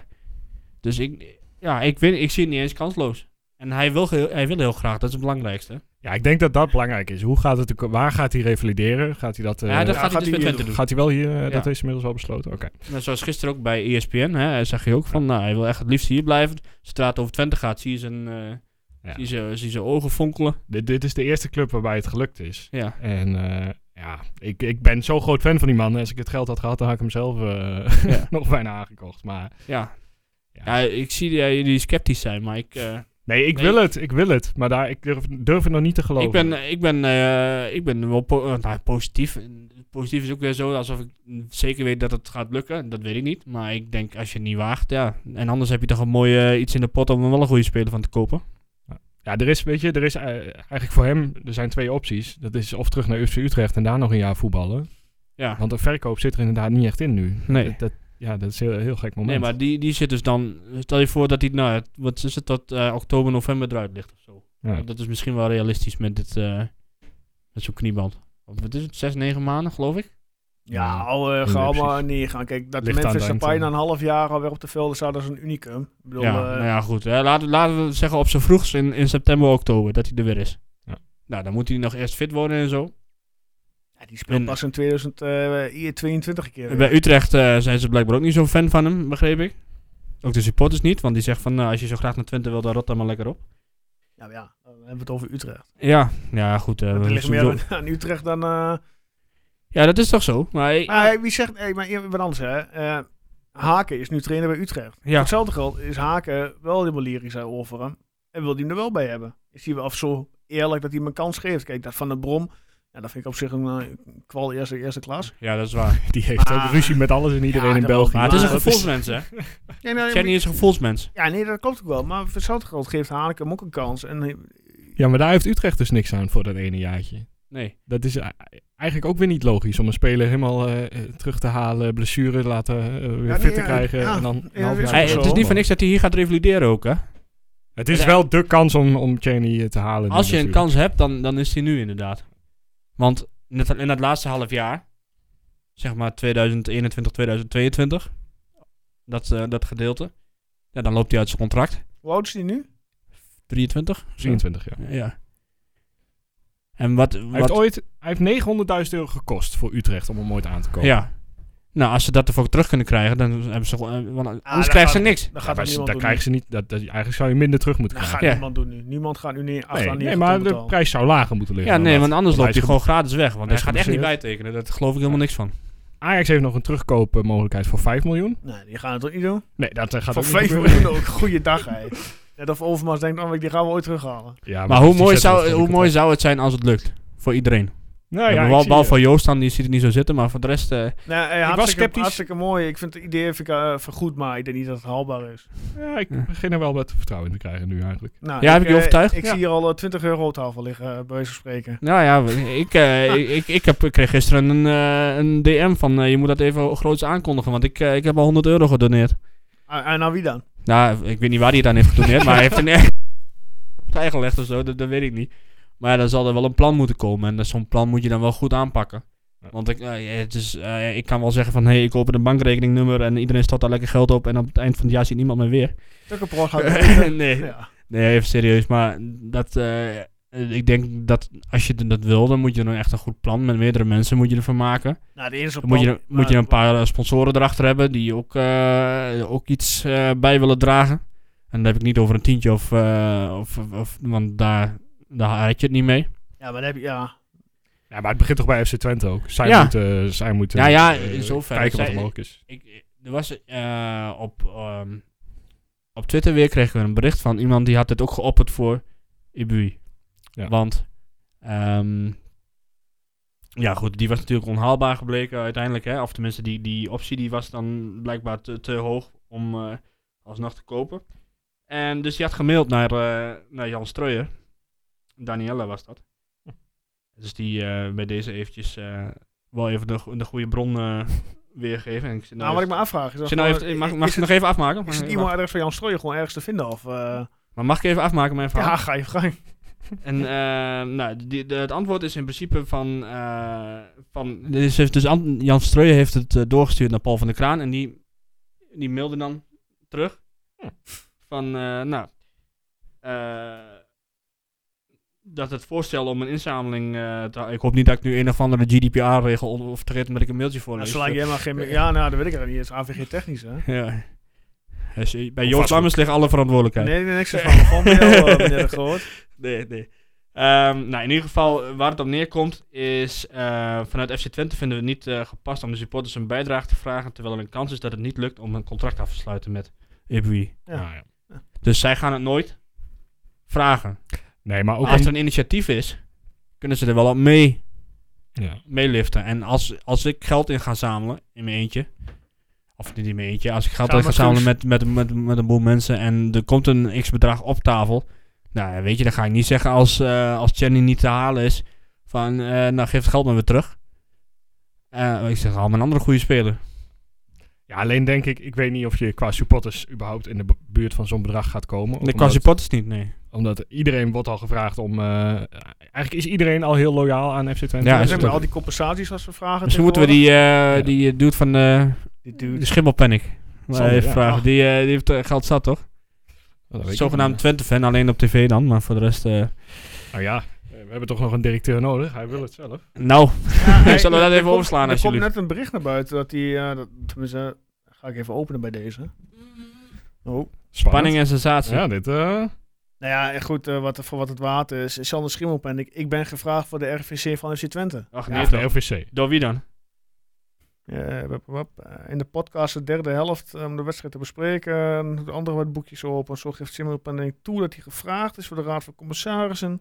dus ik, ja, ik, win, ik zie het niet eens kansloos. En hij wil, geheel- hij wil heel graag, dat is het belangrijkste. Ja, ik denk dat dat belangrijk is. Hoe gaat het, waar gaat hij revalideren? Gaat hij dat... eh, ja, dat ja, gaat hij gaat dus met hij- Twente doen. Gaat hij wel hier, eh, Ja. dat is inmiddels al besloten. Oké. Net zoals gisteren ook bij E ESPN, hè, hij zag je ook van, nou, hij wil echt het liefst hier blijven. Zodra het over Twente gaat, zie je zijn, eh, Ja. zie je, zijn- zie je zijn ogen fonkelen. Dit, dit is de eerste club waarbij het gelukt is. Ja. En eh, ja, ik, ik ben zo'n groot fan van die man. Als ik het geld had gehad, dan had ik hem zelf eh, *laughs* Ja. nog bijna aangekocht. Maar Ja. Ja. ja. ik zie dat jullie sceptisch zijn, maar ik, eh, nee, ik Nee. wil het. Ik wil het. Maar daar, ik durf, durf het nog niet te geloven. ik ben, ik ben, eh, ik ben wel po- eh, nou, positief. Positief is ook weer zo, alsof ik zeker weet dat het gaat lukken. Dat weet ik niet, maar ik denk als je het niet waagt, ja. En anders heb je toch een mooie eh, iets in de pot om er wel een goede speler van te kopen. Ja, er is, weet je, er is eh, eigenlijk voor hem, er zijn twee opties. Dat is of terug naar FC Utrecht en daar nog een jaar voetballen. Ja. Want de verkoop zit er inderdaad niet echt in nu. Nee. Dat, dat- ja, dat is een heel, heel gek moment. Nee, maar die, die zit dus dan. Stel je voor dat hij, nou, het- wat is het, tot eh, oktober, november eruit ligt of zo. Ja. Nou, dat is misschien wel realistisch met dit, eh, met zo'n knieband. Of wat is het, zes, negen maanden, geloof ik. Ja, Ja, al eh, ga ja, allemaal precies. neergaan. Kijk, dat de Ligt aan Memphis Dante. Depay na een half jaar alweer op de velden staat, dat is een unicum. Ik bedoel, ja, eh, nou ja, goed. Hè. Laten, laten we zeggen op zijn vroegst in, in september, oktober, dat hij er weer is. Ja. Nou, dan moet hij nog eerst fit worden en zo. ja, die speelt en- pas in 2022 een keer. Bij Utrecht eh, zijn ze blijkbaar ook niet zo'n fan van hem, begreep ik. Ook de supporters niet, want die zegt van, nou, als je zo graag naar Twente wil, dan rot dan maar lekker op. Ja, maar ja, dan hebben we het over Utrecht. Ja, ja, goed. eh, Er we- ligt meer aan- aan Utrecht dan... eh, Ja, dat is toch zo. Maar, Maar hey, wie zegt, hey, maar eer- wat anders hè. Eh, Haken is nu trainer bij Utrecht. ja. Hetzelfde geld is Haken wel helemaal lyrisch over hem. En wil hij hem er wel bij hebben. Is hij wel of zo eerlijk dat hij hem een kans geeft. Kijk, dat van de Brom, ja, dat vind ik op zich een eh, kwal eerste, eerste klas. ja, dat is waar. die heeft Maar- ook ruzie met alles en iedereen Ja, in dat België. wel. Maar het is een Maar dat gevoelsmens, hè? Ja, nou, Jenny is een gevoelsmens. ja, nee, dat klopt ook wel. Maar voor hetzelfde geld geeft Haken hem ook een kans. En eh, Ja, maar daar heeft Utrecht dus niks aan voor dat ene jaartje. Nee. Dat is eh, eigenlijk ook weer niet logisch om een speler helemaal eh, eh, terug te halen, blessure laten, eh, weer Ja, fit nee, te ja, krijgen. ja. en dan een Ja, half dat is jaar ook Hij- zo. het is niet van niks dat hij hier gaat revalideren ook, hè? Het is wel de kans om, om Cheney eh, te halen. nu Als je een natuurlijk. kans hebt, dan, dan is hij nu inderdaad. Want in het, in het laatste half jaar, zeg maar 2021, 2022, dat, eh, dat gedeelte, ja, dan loopt hij uit zijn contract. hoe oud is hij nu? 23? of zo. 23, ja. Ja. En wat... Hij heeft wat ooit hij heeft 900.000 euro gekost voor Utrecht om hem ooit aan te kopen. ja. Nou, als ze dat ervoor terug kunnen krijgen, dan hebben ze... gewoon- eh, want Anders dat krijgen ze gaat- niks. Ah, Dan Ja, gaat maar dat ze- niemand daar doen. krijgen ze niet. Dat, dat, eigenlijk zou je minder terug moeten Dat krijgen. gaat Ja. niemand doen nu. Niemand gaat nu neer Nee, achteraan nee, neer- maar de betalen. prijs zou lager moeten liggen. Ja, dan nee, dat. want anders hij loopt hij is gewoon gratis weg. Want hij hij is gaat echt niet geblesseerd. bijtekenen. Daar geloof ik helemaal niks van. Ajax heeft nog een terugkoopmogelijkheid voor 5 miljoen. Nee, die gaan het toch niet doen? Nee, dat eh, gaat Van ook niet vijf gebeuren. *laughs* miljoen ook. Goeiedag, hè. Net of Overmars denkt, oh, die gaan we ooit terughalen. Ja, Maar hoe die mooi, zetten we zou, voor hoe de mooi zou het zijn als het lukt? Voor iedereen. Nou, ja, ja, ik wel zie bal je. van Joost dan, die ziet het niet zo zitten. Maar voor de rest... eh, Nee, eh, was hartstikke, sceptisch. hartstikke mooi. Ik vind het idee vind ik, eh, vergoed, maar ik denk niet dat het haalbaar is. Ja, ik Ja. begin er wel wat vertrouwen in te krijgen nu eigenlijk. Nou, Ja, heb ik je eh, overtuigd? Ik Ja. zie hier al eh, 20 euro op tafel liggen, eh, bij wijze van spreken. nou ja, we- ik, eh, ik, ik, ik heb, ik kreeg gisteren een, eh, een DM van... eh, je moet dat even groots aankondigen, want ik, eh, ik heb al 100 euro gedoneerd. En, en aan wie dan? Nou, ik weet niet waar hij het aan heeft gedoneerd. maar hij heeft een echt *laughs* bijgelegd of zo, dat, dat weet ik niet. Maar ja, dan zal er wel een plan moeten komen. En dat- zo'n plan moet je dan wel goed aanpakken. Ja. Want ik, eh, ja, het is, eh, ik kan wel zeggen van... hé, hey, ik open een bankrekeningnummer en iedereen stort daar lekker geld op... en op het eind van het jaar ziet niemand meer weer. Tukkenprog *laughs* gaat het nee, ja. nee, even serieus. Maar dat, eh, eh, ik denk dat als je dat wil... dan moet je er echt een goed plan met meerdere mensen moet je ervan maken. Nou, de eerste Dan moet je, er- moet je maar- een paar eh, sponsoren erachter hebben die ook, eh, ook iets eh, bij willen dragen. En dan heb ik niet over een tientje of... eh, of, of- of- want daar, daar had je het niet mee. Ja, maar dan heb je... Ja. Ja, maar het begint toch bij FC Twente ook. Zij Ja. moeten, zij moeten Ja, ja, eh, in zoverre. kijken wat er Zij- mogelijk is. Ik, er was eh, op, ehm, op Twitter weer kregen we een bericht van iemand die had het ook geopperd voor Ibui. Ja. Want, ehm, ja goed, die was natuurlijk onhaalbaar gebleken uiteindelijk. Hè? Of tenminste, die, die optie die was dan blijkbaar te, te hoog om eh, alsnog te kopen. En dus die had gemaild naar, eh, naar Jan Streuer. Danielle was dat. Dus die eh, bij deze eventjes eh, wel even de, go- de goede bron eh, weergeven. En ik zit Nou, nou wat ik even- me afvraag is... ik dat zit nou gewoon- even- Mag is mag ik het het- nog even afmaken? Mag Is ik het even af- e-mailadres van Jan Strooijen gewoon ergens te vinden? Of, eh, Nou, Maar mag ik even afmaken mijn verhaal? ja, ga je gang. En eh, nou, die, de- het antwoord is in principe van... eh, van dus heeft, dus Ant- Jan Streuer heeft het eh, doorgestuurd naar Paul van der Kraan. En die, die mailde dan terug. Van, eh, nou... eh, dat het voorstel om een inzameling... eh, te- ik hoop niet dat ik nu een of andere GDPR-regel on- overtreed... omdat ik een mailtje voor Nou, lees. zolang je helemaal geen... Ja, nou, dat weet ik het niet. Het is AVG technisch, hè? Ja. Dus, eh, bij Of Joost vastgoed. Lammers ligt alle verantwoordelijkheid. Nee, nee, niks ervan. Gewoon bij *laughs* jou, eh, meneer de Groot. nee, nee. Ehm, nou, in ieder geval, eh, waar het op neerkomt is... eh, vanuit FC Twente vinden we het niet eh, gepast om de supporters een bijdrage te vragen... terwijl er een kans is dat het niet lukt om een contract af te sluiten met Ebui. Ja. Nou, ja. Dus zij gaan het nooit vragen. Nee, maar ook... als er om- een initiatief is, kunnen ze er wel op mee, ja. meeliften. En als, als ik geld in ga zamelen, in mijn eentje... Of niet in mijn eentje, als ik geld Samen in ga met zamelen Guus. met, met, met, met een boel mensen... en er komt een x-bedrag op tafel... Nou, weet je, dan ga ik niet zeggen als, eh als Jenny niet te halen is. Van, eh, nou, geef het geld maar weer terug. Eh, ik zeg, haal maar een andere goede speler. ja, alleen denk ik... Ik weet niet of je qua supporters überhaupt in de bu- buurt van zo'n bedrag gaat komen. De Ook kan omdat- supporters niet, nee. Omdat iedereen wordt al gevraagd om... eh, eigenlijk is iedereen al heel loyaal aan FC Twente. Ja, Ja, is ze het hebben ook. al die compensaties als we vragen. Misschien moeten we die, eh Ja. die eh, dude van de, Die *laughs* de dude. Schimmelpanic maar Sander, even ja. vragen. Ah. Die, eh, die heeft eh, geld zat, toch? Dat oh. weet ik Zogenaamd niet. Twente-fan, alleen op tv dan. Maar voor de rest... eh, Nou ja, eh, we hebben toch nog een directeur nodig. Hij wil het zelf. nou, Ja, hey, Zullen we dat er even komt- overslaan, Er alsjeblieft? komt net een bericht naar buiten dat die... eh, dat, tenminste, ga ik even openen bij deze. Oh. spanning en sensatie. Ja, dit... eh, Nou ja, en goed, eh, wat, voor wat het waard is. Sander Schimmelpen, ik, ik ben gevraagd voor de RVC van FC Twente. Ach, ja, nee, van toch. LVC. Door wie dan? Eh, wap, wap, eh, in de podcast de derde helft eh, om de wedstrijd te bespreken. De andere wat boekjes open. Zo geeft Schimmelpen toe dat hij gevraagd is voor de Raad van Commissarissen.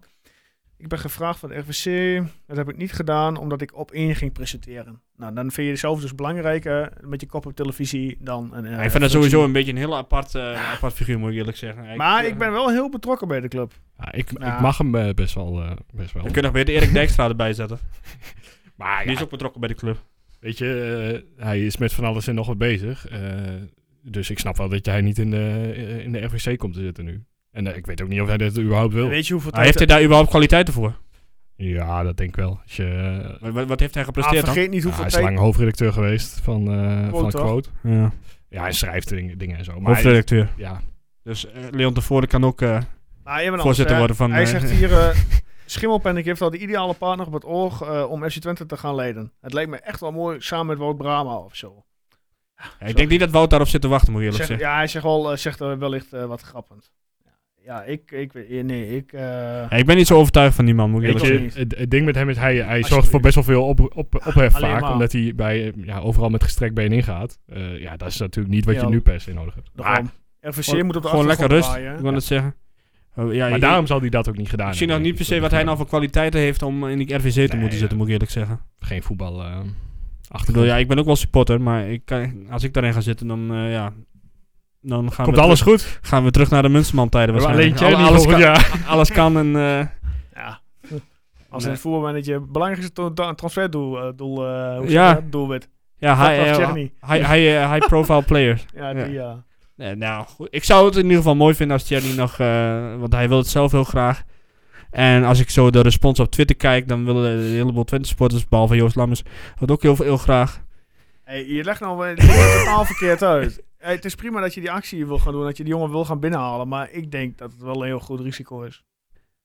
Ik ben gevraagd voor de RVC. Dat heb ik niet gedaan, omdat ik op één ging presenteren. Nou, dan vind je jezelf dus belangrijker met je kop op televisie dan een... eh, ik vind dat functie. sowieso een beetje een heel apart, eh, apart figuur, moet ik eerlijk zeggen. Maar eh, ik ben wel heel betrokken bij de club. Ja, ik, ik Nou. mag hem eh, best wel. eh, best wel. Dan kun je nog weer de Erik Dijkstra erbij zetten. Maar ja, Die is ook betrokken bij de club. weet je, eh, hij is met van alles en nog wat bezig. eh, dus ik snap wel dat jij niet in de, eh, in de RVC komt te zitten nu. En eh, ik weet ook niet of hij dat überhaupt wil. Weet je hoeveel Maar Ah, heeft hij daar überhaupt kwaliteiten voor? Ja, dat denk ik wel. Als je, eh, Wat, wat- wat heeft hij Ah, gepresteerd dan? vergeet niet ja, hoeveel hij is tijd... lang hoofdredacteur geweest van, eh Quote, van toch? Quote. Ja, Ja, hij schrijft dingen, dingen en zo. Maar hij- hoofdredacteur. ja, Dus eh, Leon Tevoren kan ook... eh, Maar even anders, voorzitter hè. worden van, Hij eh, zegt *laughs* hier, eh Schimmelpenninck heeft al de ideale partner op het oog eh, om FC Twente te gaan leiden. Het lijkt me echt wel mooi samen met Wout Brama of zo. ja, ik denk niet dat Wout daarop zit te wachten, moet ik eerlijk Zegt- zeggen. ja, hij zegt, wel, eh, zegt eh, wellicht eh, wat grappend. Ja, ik, ik, weet- nee, ik... eh, Ja, ik ben niet zo overtuigd van die man, moet ik weet Weet eerlijk ook je, zeggen. niet. het, het ding met hem is, hij, hij zorgt Alsjeblieft. voor best wel veel op, op, Ah, ophef Alleen vaak. maar. Omdat hij bij, eh, ja, overal met gestrekt been ingaat. Eh, ja, dat is natuurlijk niet wat je Ja. nu per se nodig hebt. Ah, Maar, daarom. RVC gewoon- moet op de Gewoon lekker achtergrond rust, draaien. ik wil het zeggen. Oh, ja, maar ik- daarom zal hij dat ook niet gedaan Ik zie nog hebben, niet denk ik. per se Dat wat is hij nou voor kwaliteiten heeft om in die RVC te Nee, moeten ja. zitten, moet ik eerlijk zeggen. Geen voetbal eh Ik bedoel, achtergrond. ja, ik ben ook wel supporter, maar ik kan, als ik daarin ga zitten, dan, eh, ja, dan gaan, Komt we alles terug, goed? We gaan we terug naar de Munsterman-tijden hebben alleen waarschijnlijk. Tjerny Al- alles, volgend kan, jaar. alles kan en... eh, Ja. Als Nee. een voetbalmanager belangrijkste to- da- transferdoel, eh, doel, eh, hoe Ja. zeg je dat? doelwit. ja, Dat high, dacht eh, Tjerny. high, high, eh, high profile players. Ja, Ja. die ja. Nee, nou, goed. Ik zou het in ieder geval mooi vinden als Thierry nog... eh, want hij wil het zelf heel graag. En als ik zo de respons op Twitter kijk... dan willen een heleboel Twente-supporters... behalve Joost Lammers... dat ook heel, heel graag. Hey, je legt nou wel- dit is totaal verkeerd uit. Hey, het is prima dat je die actie wil gaan doen, dat je die jongen wil gaan binnenhalen. Maar ik denk dat het wel een heel goed risico is.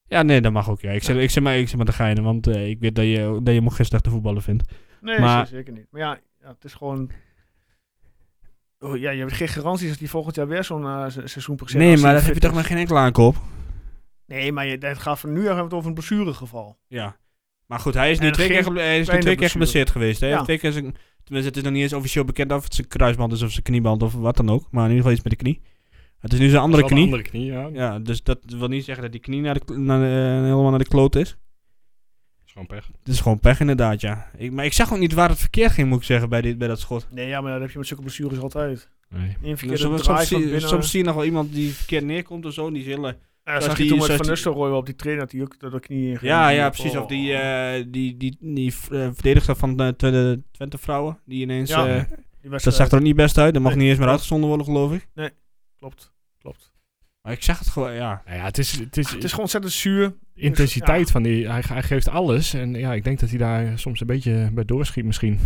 Ja, nee, dat mag ook. Ja. Ik, zit, ik, zit maar, ik zit maar te geinen... want eh, ik weet dat je, dat je me gisteren te voetballen vindt. Nee, Maar- zeker zeker niet. Maar ja, ja, het is gewoon... Oh, ja, je hebt geen garanties dat die volgend jaar weer zo'n eh, se- seizoenprocent... nee, als maar die daar heb fit je toch is. maar geen enkele aankoop? Nee, maar je, het gaat van nu hebben het over een blessuregeval. Ja. Maar goed, hij is nu En twee geen keer, geble- hij is nu kleine twee keer blessure. geblesseerd geweest. Hè? Hij Ja. heeft Twee keer zijn, tenminste, het is nog niet eens officieel bekend of het zijn kruisband is of zijn knieband of wat dan ook. Maar in ieder geval iets met de knie. Het is nu zijn andere Wel een knie. Andere knie, ja. Ja, dus dat wil niet zeggen dat die knie naar de, kl- naar de, eh, helemaal naar de kloot is. Dat is gewoon pech. Het is gewoon pech inderdaad, ja. Ik, maar ik zag ook niet waar het verkeerd ging, moet ik zeggen, bij, dit, bij dat schot. Nee, ja, maar dat heb je met zulke blessures altijd. Nee. Een Dus verkeerde soms, draai soms van zie, binnen. soms zie je nog wel iemand die verkeerd neerkomt of zo. en Die is eh, hele Ja, zag je die- toen met zoals Van die- Nistelrooy wel op die trainer die ook door de knieën ging? Ja, ja, Oh. precies. Of die, eh, die, die, die v- eh, verdediger van de Tw- Twente vrouwen, die ineens... Ja. eh, Die dat wedstrijd- zag er ook niet best uit. Dat mag Nee. niet eens meer uitgezonden worden, geloof ik. Klopt, klopt. Maar ik zag het gewoon, ja. Nou ja, het is, het is, Het is gewoon ontzettend zuur. Dus, intensiteit van die. Hij, hij geeft alles. En ja, ik denk dat hij daar soms een beetje bij doorschiet misschien.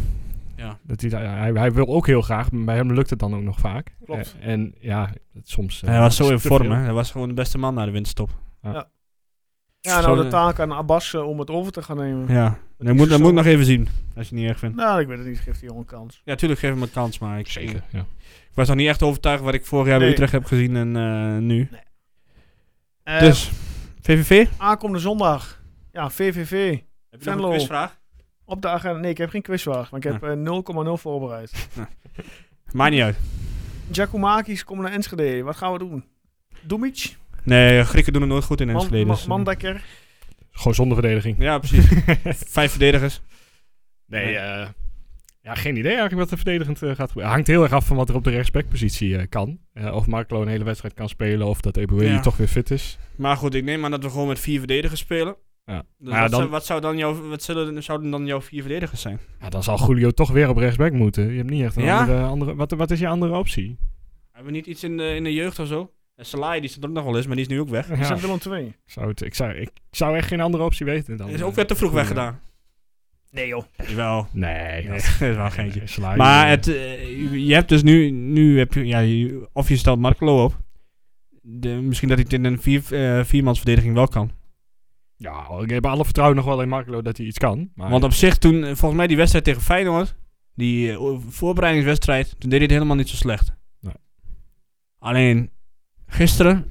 Ja. Dat hij, daar- hij, hij wil ook heel graag, maar bij hem lukt het dan ook nog vaak. Klopt. Eh, En ja, het- soms... eh, Hij was zo is in te vorm, veel. hè. Hij was gewoon de beste man na de winterstop. Ja, nou Zo'n, de eh, taak aan Abbas eh, om het over te gaan nemen. Ja. is Dat moet, dat zo. moet ik nog even zien, als je het niet erg vindt. Nou, ik weet het niet. Geeft die jongen een kans. Ja, tuurlijk geef hem een kans, maar ik, ik, Zeker, ja. was nog niet echt overtuigd wat ik vorig jaar bij Nee. Utrecht heb gezien en eh, nu. Eh, dus, VVV? Aankomende zondag. Ja, VVV. Heb je nog een Venlo. quizvraag? Op de agenda. Nee, ik heb geen quizvraag. Maar ik heb eh, 0,0 voorbereid. Maakt niet uit. Giacomakis komt naar Enschede. Wat gaan we doen? Dumic? Nee, eh, Grieken doen het nooit goed in Man- Enschede. Ma- dus- Mandekker? Gewoon zonder verdediging. ja, precies. *laughs* Vijf verdedigers. Nee, eh, ja, geen idee eigenlijk wat er verdedigend eh, gaat gebeuren. Hangt heel erg af van wat er op de rechtsbackpositie eh, kan. Eh, of Marco een hele wedstrijd kan spelen of dat Eboué Ja. toch weer fit is. Maar goed, ik neem aan dat we gewoon met vier verdedigers spelen. Ja. Dus Ja, wat, dan- zou, wat, zou dan jouw, wat zullen, zouden dan jouw vier verdedigers zijn? Ja, dan zal Julio toch weer op rechtsback moeten. Je hebt niet echt een Ja? andere... andere wat, wat is je andere optie? Hebben we niet iets in de, in de jeugd of zo? En Salai, die zit er ook nog wel eens, maar die is nu ook weg. Is Ja. dat Willem 2? Zou het, ik, zou, ik zou echt geen andere optie weten dan... Is eh, ook weer te vroeg Julio. weggedaan. Nee joh. Jawel. Nee, Nee, dat- *laughs* dat is wel een geintje. nee, Sly, Maar eh, het, eh, je hebt dus nu, nu heb je, ja, je- of je stelt Markelo op. De, misschien dat hij het in een vier, eh, viermansverdediging wel kan. Ja, ik heb alle vertrouwen nog wel in Marco dat hij iets kan. Maar Want op zich toen, eh, volgens mij die wedstrijd tegen Feyenoord, die eh, o- voorbereidingswedstrijd, toen deed hij het helemaal niet zo slecht. Nee. Alleen, gisteren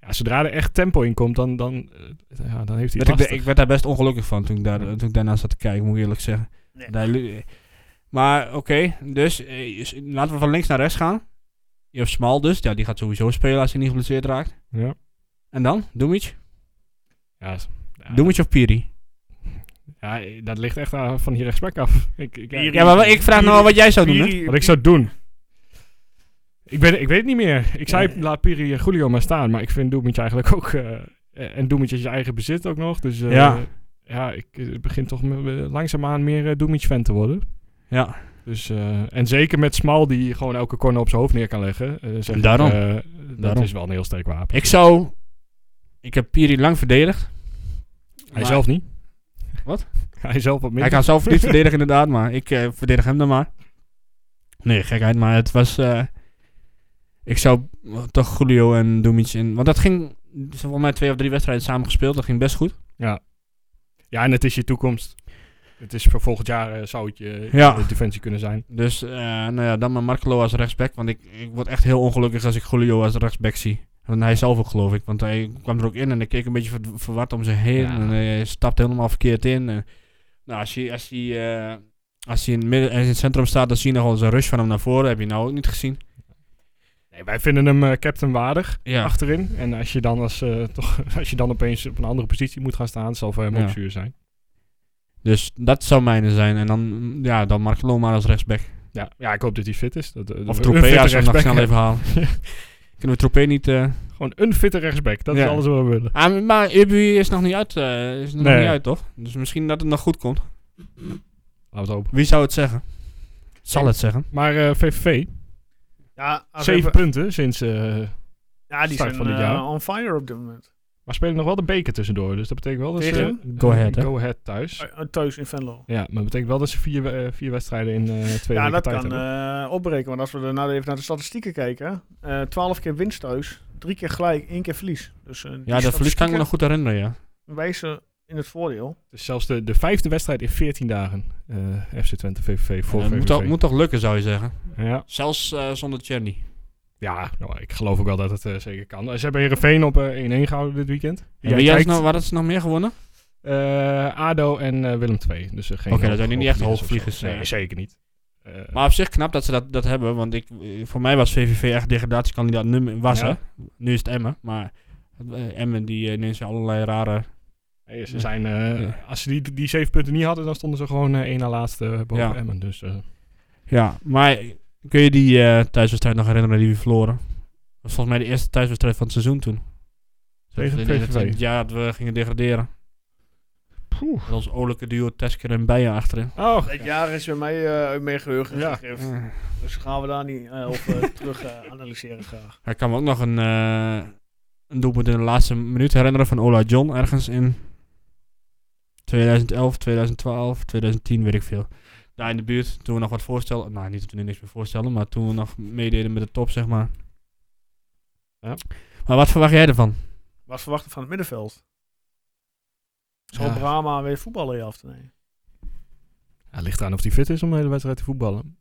ja, zodra er echt tempo in komt, dan, dan, eh, ja, dan heeft hij werd het ik, lastig. ik werd daar best ongelukkig van toen ik, daar, toen ik daarna zat te kijken, moet ik eerlijk zeggen. Nee. Daar lu- eh, maar oké, dus eh, is- laten we van links naar rechts gaan. Je hebt Smal dus, ja, die gaat sowieso spelen als hij niet geblesseerd raakt. Ja. En dan, Doemic? Ja, s- ja, Doemic of Piri? ja, dat ligt echt aan- van hier rechtsback af. *laughs* Ik, ik, Hier- Ja, maar wel- ik vraag nou wel wat jij zou doen, hè? Piri- wat ik zou doen... Ik, ben, ik weet het niet meer. Ik zei, laat Piri en Julio maar staan. Maar ik vind Doemetje eigenlijk ook... eh, eh, en Doemetje is je eigen bezit ook nog. Dus eh, Ja. ja, ik eh, begin toch me- me- langzaamaan meer eh Doemetje-fan te worden. Ja. Dus, eh, en zeker met Smal die gewoon elke corner op zijn hoofd neer kan leggen. eh, zeg ik, Daarom. eh, dat Daarom. is wel een heel sterk wapen. Ik zou... Ik heb Piri lang verdedigd. Hij maar- zelf niet. Wat? *laughs* Hij zelf wat Hij minder. kan zelf niet verdedigen inderdaad, maar ik eh, verdedig hem dan maar. Nee, gekheid, maar het was... eh, ik zou eh, toch Julio en Doemic in... Want dat ging... ze Volgens mij twee of drie wedstrijden samen gespeeld. Dat ging best goed. Ja, en het is je toekomst. Het is voor volgend jaar eh, zou het je Ja. de defensie kunnen zijn. Dus eh, nou ja, dan maar Markelo als rechtsback. Want ik, ik word echt heel ongelukkig als ik Julio als rechtsback zie. Want hij zelf ook, geloof ik. Want hij kwam er ook in en hij keek een beetje ver- verward om zich heen. Ja. En hij stapte helemaal verkeerd in. En, nou, als hij, als hij, eh, als hij in, het midden, als hij in het centrum staat, dan zie je nog wel eens een rush van hem naar voren. Heb je nou ook niet gezien. Nee, wij vinden hem eh, captain waardig Ja. achterin. En als je, dan als, eh, *laughs* toch, als je dan opeens op een andere positie moet gaan staan, zal voor hem Ja. ook zuur zijn. Dus dat zou mijne zijn. En dan, mm, ja, dan Markelo maar als rechtsback. Ja, ja, ik hoop dat hij fit is. Dat, eh, Of een Tropea fitte als we hem nog rechtsback. snel even halen. *laughs* Kunnen we Tropea niet... eh, *laughs* Gewoon een fitte rechtsback. Dat Ja. is alles wat we willen. Ah, maar Ibu is nog niet uit. eh, is nog Nee. niet uit, toch? Dus misschien dat het nog goed komt. Laten we het hopen. Wie zou het zeggen? Zal het zeggen. Maar eh, VVV, Ja, als zeven even- punten sinds... eh ja, die start zijn van dit eh, jaar. on fire op dit moment. maar spelen nog wel de beker tussendoor. Dus dat betekent wel dat ze... Tegen? eh, Go Ahead, hè? Go Ahead thuis. Eh, eh, Thuis in Venlo. Ja, maar dat betekent wel dat ze vier, eh, vier wedstrijden in eh, twee Ja, weken dat tijd kan hebben. eh, opbreken. Want als we daarna even naar de statistieken kijken. eh 12 keer winst thuis. 3 keer gelijk, 1 keer verlies. Dus, eh, die Ja, dat verlies kan ik me nog goed herinneren, ja. wijzen in het voordeel. Dus zelfs de, de vijfde wedstrijd in 14 dagen. eh, FC Twente VVV voor Ja, VVV. Eh, moet, toch, moet toch lukken, zou je zeggen. Ja, Zelfs eh, zonder Cherny. ja nou, ik geloof ook wel dat het eh, zeker kan. Eh, Ze hebben Heerenveen op eh, 1-1 gehouden dit weekend. Ja, wie is nou- nog, waar hadden ze nog meer gewonnen? eh, ADO en eh, Willem II. Dus, eh, geen Oké, dat zijn nu niet echt hoogvliegers of zo. hoogvliegers, Nee, eh. zeker niet. Eh, Maar op zich knap dat ze dat, dat hebben. Want ik, eh, voor mij was VVV echt degradatiekandidaat nummer was, Ja. hè. Nu is het Emmen. Maar eh, Emmen die eh, ineens allerlei rare... eh, ze zijn, eh, Ja. Als ze die, die zeven punten niet hadden, dan stonden ze gewoon eh één na laatste boven Ja. Emmen. Dus eh, Ja, maar kun je die eh, thuiswedstrijd nog herinneren die we verloren? Dat was volgens mij de eerste thuiswedstrijd van het seizoen toen. Tegen in VVV. het jaar dat we gingen degraderen. Poeh. Met ons olijke duo Tesker en Bijen achterin. Oh, Het jaar is bij mij eh meer geheugen Ja. gegrift. Dus gaan we daar niet eh, op eh, *laughs* terug eh, analyseren graag. Ik kan me ook nog een, eh een doelpunt in de laatste minuut herinneren van Ola John. Ergens in 2011, 2012, 2010, weet ik veel. Daar in de buurt, toen we nog wat voorstelden. Nou, niet dat we nu niks meer voorstellen, maar toen we nog meededen met de top, zeg maar. Ja. Maar wat verwacht jij ervan? Wat verwachten van het middenveld? Zal Ja. Brahma weer voetballen je af te nemen? het ligt eraan of hij fit is om de hele wedstrijd te voetballen.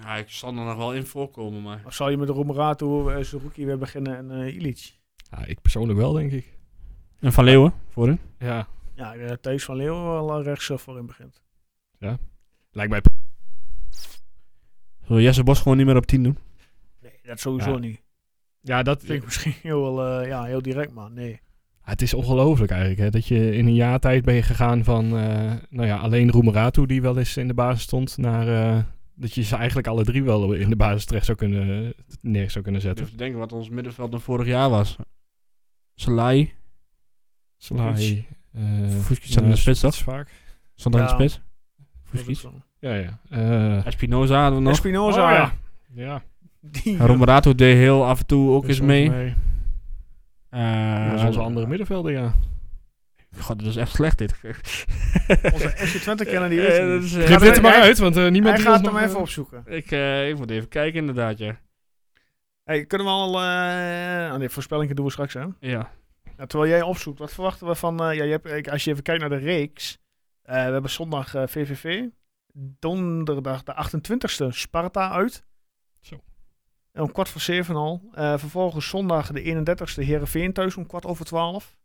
Ja, ik zal er nog wel in voorkomen, maar... Of zal je met Romerato, eh Suzuki weer beginnen en eh Ilic? Ja, ik persoonlijk wel, denk ik. En Van Leeuwen, voorin? Ja. Ja, ik denk dat Thijs van Leeuwen wel eh, rechts eh, voorin begint. Lijkt mij... Zullen we Jesse Bos gewoon niet meer op 10 doen? Nee, dat sowieso Ja. niet. Ja, dat... Klinkt misschien heel, eh, ja, heel direct, maar nee. Ja, het is ongelooflijk eigenlijk, hè, dat je in een jaar tijd ben je gegaan van eh, nou ja, alleen Roemeratu, die wel eens in de basis stond, naar eh, dat je ze eigenlijk alle drie wel in de basis terecht zou kunnen, neer zou kunnen Ik zetten. durf te denken wat ons middenveld dan vorig jaar was. Salai Salai. eh, Fuskies staat in de eh, spits, toch? vaak. stond aan de Ja. spits. Dat is Fuskies. wel- Ja, ja. Eh, Espinoza hadden we nog. Espinoza, Oh, ja. ja. ja. Die, En Romerato deed heel af en toe ook eens Dus mee. volgens mij- Eh, Dat is onze andere middenvelder, ja. God, dat is echt slecht dit. *laughs* onze FC Twente kennen die Eh, dat weet is, niet. eh, Geef hij- dit er maar hij- uit, want eh, niemand Hij die gaat ons hem nog, even eh, opzoeken. ik, eh, ik moet even kijken inderdaad, ja. Hey, kunnen we al... eh oh nee, voorspellingen doen we straks, hè? Ja. Nou, terwijl jij opzoekt, wat verwachten we van... eh, ja, je hebt, eh, als je even kijkt naar de reeks. eh, we hebben zondag eh, VVV. Donderdag de 28e Sparta uit. Zo. En om kwart voor zeven al. Eh, vervolgens zondag de 31e Heerenveen thuis om kwart over twaalf.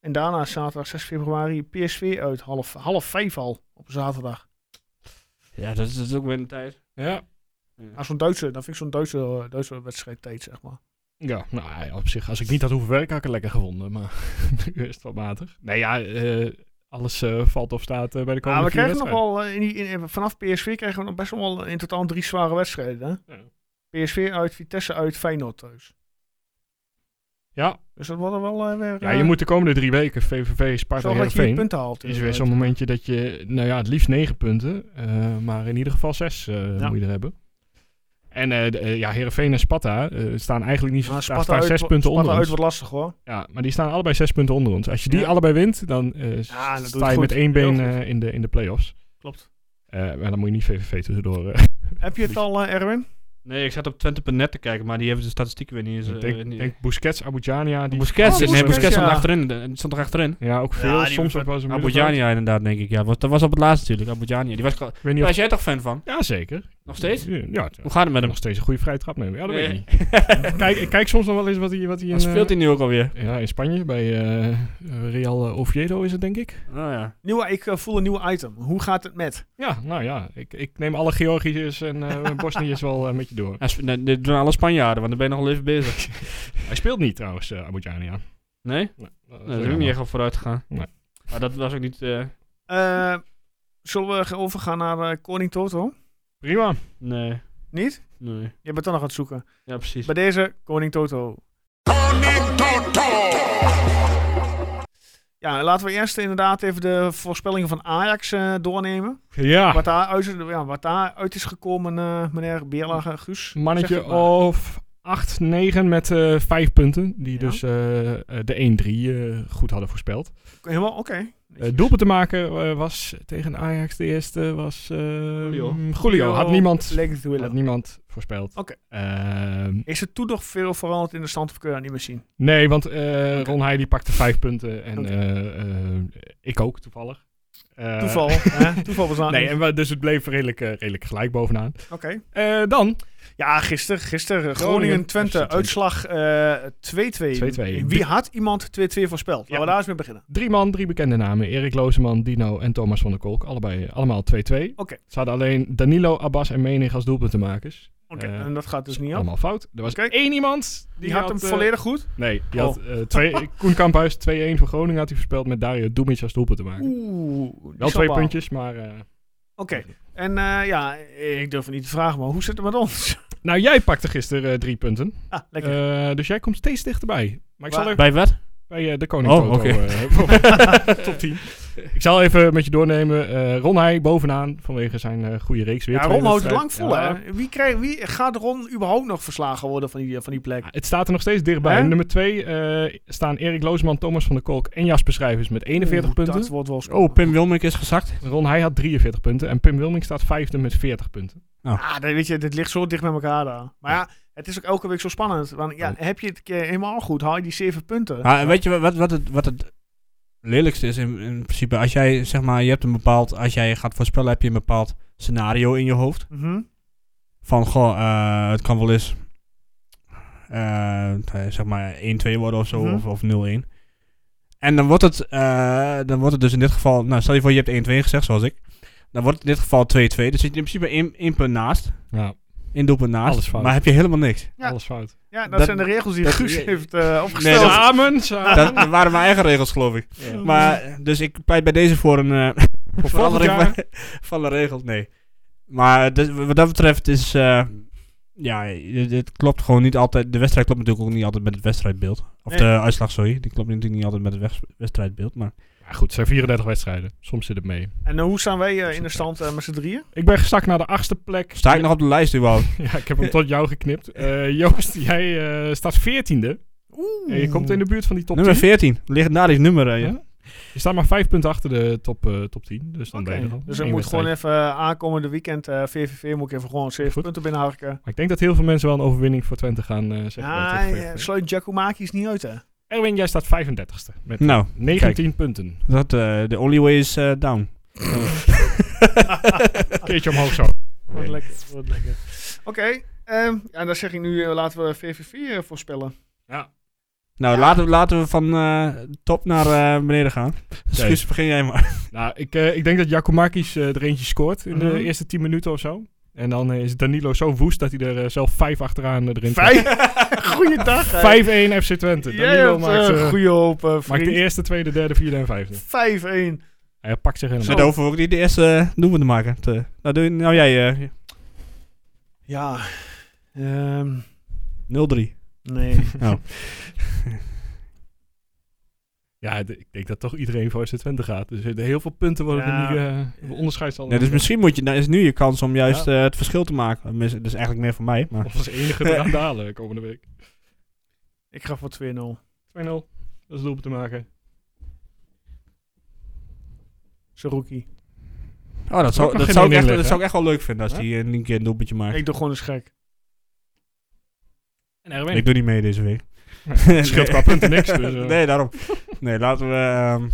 En daarna zaterdag 6 februari PSV uit. Half, half vijf al op zaterdag. Ja, dat is, dat is ook weer een tijd. Ja. Nou, zo'n Duitse, dan vind ik zo'n Duitse, eh, Duitse wedstrijd tijd, zeg maar. Ja, nou ja, op zich, als ik niet had hoeven werken, had ik het lekker gevonden. Maar *laughs* nu is het wat matig. Nee, ja, eh, alles eh, valt of staat eh, bij de Ja, komende Ah, we vier krijgen nog wedstrijden. wel, eh, in die, in- vanaf PSV krijgen we nog best wel eh, in totaal drie zware wedstrijden. Hè? Ja. PSV uit, Vitesse uit, Feyenoord thuis. Dus dat wordt er wel eh, weer... Ja, eh, je moet de komende drie weken VVV, Sparta, zorgen dat je je Heerenveen. punten haalt. eh, Is weer inderdaad. zo'n momentje dat je, nou ja, het liefst negen punten, eh, maar in ieder geval zes eh, Ja. moet je er hebben. En eh, de- eh, ja, Heerenveen en Sparta eh, staan eigenlijk niet zo, Maar daar Sparta staan uit, zes punten Sparta onder uit ons. wordt lastig hoor. Ja, maar die staan allebei zes punten onder ons. Als je die Ja. allebei wint, dan Ja, eh, dat doe je sta je goed. met één been Heel goed. eh, in, de, in de play-offs. Klopt. Eh, maar dan moet je niet VVV tussendoor. eh, Heb je het al, eh, Erwin? Nee, ik zat op Twente.net te kijken, maar die hebben de statistieken weer niet eens... eh, denk, niet- denk Busquets, Aboudjania. Die Busquets, Oh, nee, Busquets, Busquets stond ja. achterin. de- Die stond er achterin. Ja, ook veel. Ja, die Soms ook werd- wel eens een middenveld. Aboudjania inderdaad, denk ik. Ja, was, dat was op het laatst natuurlijk, Aboudjania. Die was... kla- Ik weet niet Daar of... was jij toch fan van? Ja, zeker. Nog steeds? Ja, het- Hoe gaat het met hem? nog steeds een goede vrije trap nemen. Ja, dat weet ik Nee. niet. *laughs* Ik kijk, ik kijk soms nog wel eens wat hij... Wat hij in, Wat speelt eh, hij nu ook alweer? Ja, in Spanje, bij eh, eh, Real eh, Oviedo is het, denk ik. Oh ja. Nieuwe, ik eh, voel een nieuw item. Hoe gaat het met? Ja, nou ja, ik, ik neem alle Georgiërs en *laughs* eh, Bosniërs wel eh, met je door. Ja, sp- nee, dit doen alle Spanjaarden, want dan ben je nog wel even bezig. *laughs* Hij speelt niet trouwens, eh Aboudjania. Nee? Nee, dat is Nee, daar ben ik jammer. niet echt op vooruit gegaan. Nee. Maar dat was ook niet... eh, Eh, zullen we gaan overgaan naar eh, Koning Toto? Prima. nee. Niet? Nee. Je bent dan nog aan het zoeken. Ja, precies. Bij deze, Koning Toto. Ja, laten we eerst inderdaad even de voorspellingen van Ajax eh, doornemen. Ja, Wat, daar uit, ja, wat daar uit is gekomen, eh, meneer Beerla, eh, Guus. Zeg mannetje oh. het maar. of 8-9 met eh 5 punten. Die Ja. dus eh, eh, de 1-3 eh, goed hadden voorspeld. Helemaal, oké. Eh doelpunt te maken eh, was tegen Ajax de eerste was eh, Julio. mm, Julio. Had niemand, Leek het te willen. had niemand voorspeld. Oké. Ehm, Is er toen nog veel veranderd in de stand of kun je dat niet meer zien? nee, want eh, Ron Heij die pakte vijf punten en Oké. eh, eh, ik ook toevallig. Eh, *laughs* Toeval. hè? Toeval was aan. Nee, en we- dus het bleef redelijk, eh, redelijk gelijk bovenaan. Oké. Eh, dan Ja, gisteren, gisteren. Groningen, FC Groningen-Twente, Twente. uitslag eh, 2-2. 2-2. Wie had iemand 2-2 voorspeld? Laten Ja. we daar eens mee beginnen. drie man, drie bekende namen. Erik Lozeman, Dino en Thomas van der Kolk. Allebei, eh, allemaal 2-2. Oké. Ze hadden alleen Danilo, Abbas en Menig als doelpuntenmakers. Oké, Eh, en dat gaat dus niet af. Allemaal fout. Er was Oké. één iemand Die, had hem eh, volledig goed. Nee, die Oh. had, eh, *laughs* twee, Koen Kamphuis 2-1 voor Groningen had hij voorspeld met Dario Dumic als doelpunt te maken. Oeh. die Wel is twee op aan. puntjes, maar... eh, Oké. En eh, ja, ik durf het niet te vragen, maar hoe zit het met ons? *laughs* Nou, jij pakte gisteren eh, drie punten. ah, lekker. Eh, dus jij komt steeds dichterbij. Maar ik zal Waar- even Bij wat? bij eh, de Koning Oh, Toto, oké. eh, *laughs* voor- top 10. Ik zal even met je doornemen. Eh Ron Heij bovenaan vanwege zijn eh, goede reeks weer. Ja, twee Ron houdt het lang vol, wedstrijden. Ja. hè? Wie, krijgt, wie gaat Ron überhaupt nog verslagen worden van die, eh, van die plek? Ja, Het staat er nog steeds dichtbij. Hè? Nummer 2 staan Erik Loosman, Thomas van der Kolk en Jasper Schrijvers met 41 Oeh, punten. Dat wordt wel spannend. Oh, Pim Wilmink is gezakt. Ron Heij had 43 punten en Pim Wilming staat vijfde met 40 punten. Ja, dan Ah, weet je, dit ligt zo dicht bij elkaar daar. Maar ja, het is ook elke week zo spannend. Want ja, heb je het een keer helemaal goed, haal je die zeven punten. Maar Ah, weet je wat, wat, het, wat het lelijkste is in, in principe? Als jij, zeg maar, je hebt een bepaald... Als jij gaat voorspellen, heb je een bepaald scenario in je hoofd. Mhm. Van, goh, eh, het kan wel eens... eh, zeg maar 1-2 worden of zo, Mhm. of, of 0-1. En dan wordt, het, eh, dan wordt het dus in dit geval... Nou, stel je voor, je hebt 1-2 gezegd, zoals ik. Dan wordt het in dit geval 2-2. Dus zit je in principe één, één punt naast. Ja, Één doelpunt naast. Alles fout. Maar heb je helemaal niks. Ja. alles fout. Ja, dat, Dat- zijn de regels die dat- Guus *laughs* nee. heeft eh, Nee, opgesteld. dat- samen, samen. Dat, dat waren mijn eigen regels, geloof ik. Maar, dus ik pleit bij deze voor een eh, *laughs* Voor volgend verandering jaar. *laughs* van, van de regels, nee. Maar dus, wat dat betreft is, eh, ja, het, het klopt gewoon niet altijd. De wedstrijd klopt natuurlijk ook niet altijd met het wedstrijdbeeld. Of Nee. de uitslag, sorry. Die klopt natuurlijk niet altijd met het wes- wedstrijdbeeld, maar... Ja, goed, het zijn 34 wedstrijden. Soms zit het mee. En eh, hoe staan wij eh, in de stand eh, met z'n drieën? Ik ben gestakt naar de achtste plek. Sta ik nog op de lijst überhaupt? Ja, ik heb hem tot jou geknipt. Eh, Joost, jij eh, staat 14e. En je komt in de buurt van die top nummer 10. 14. Legendarisch nummer, eh, ja. Ja. Je staat maar 5 punten achter de top, eh, top 10. Dus dan Oké, ben je er al. Dus Eén ik moet gewoon wedstrijd. even eh, aankomende weekend eh, VVV moet ik even gewoon zeven Goed. punten binnenharken. Maar ik denk dat heel veel mensen wel een overwinning voor Twente gaan eh, zeggen. Ja, bij Twente. eh, sluit Giacomaki's niet uit, hè? Erwin, jij staat 35ste. Met Nou, 19 punten. dat, eh, the only way is eh, down. Een *laughs* keertje omhoog zo. Wordt lekker, wordt lekker. Oké, ehm, ja, dan zeg ik nu eh, laten we VVV eh, voorspellen. Nou, laten, we- laten we van eh, top naar eh, beneden gaan. Excuus, begin jij *laughs* maar. Nou, ik, eh, ik denk dat Jakomakis eh, er eentje scoort in Mhm. de eerste 10 minuten of zo. En dan eh, is Danilo zo woest dat hij er eh, zelf 5 achteraan eh, erin Vijf. *laughs* Goeiedag. hè. krijgt. 5-1 FC Twente. Jij Danilo hebt maakt, eh, eh, goede hoop, eh, maakt de vriend. eerste, tweede, derde, vierde en vijfde. 5-1. Hij pakt zich helemaal. Zo daar hoeven we ook niet de eerste noemen te maken. Te, nou, doe, nou jij, eh, Ja. Ehm 0-3. *laughs* nee. Nou. Ja, d- ik denk dat toch iedereen voor FC Twente gaat. Dus eh, heel veel punten worden Ja. er nu eh, onderscheid zal Ja, dus misschien moet je, dan is nu je kans om juist Ja. eh, het verschil te maken. Mis- Dat is eigenlijk meer voor mij. Maar. Of als *laughs* enige eraan dalen komende week. 2-0. Ik ga voor 2-0. Dat is het doelpunt te maken. Saruki. Oh, dat Ik zou, mag dat, geen zou ik één inleggen, echt, dat hè? zou ik echt wel leuk vinden als Ja? die eh, een keer een doelpuntje maakt. Ik, Ik doe gewoon eens gek. En Erwin. doe niet mee deze week. *laughs* Het scheelt qua punten niks, dus, eh. nee, daarom. Nee, laten we... ehm,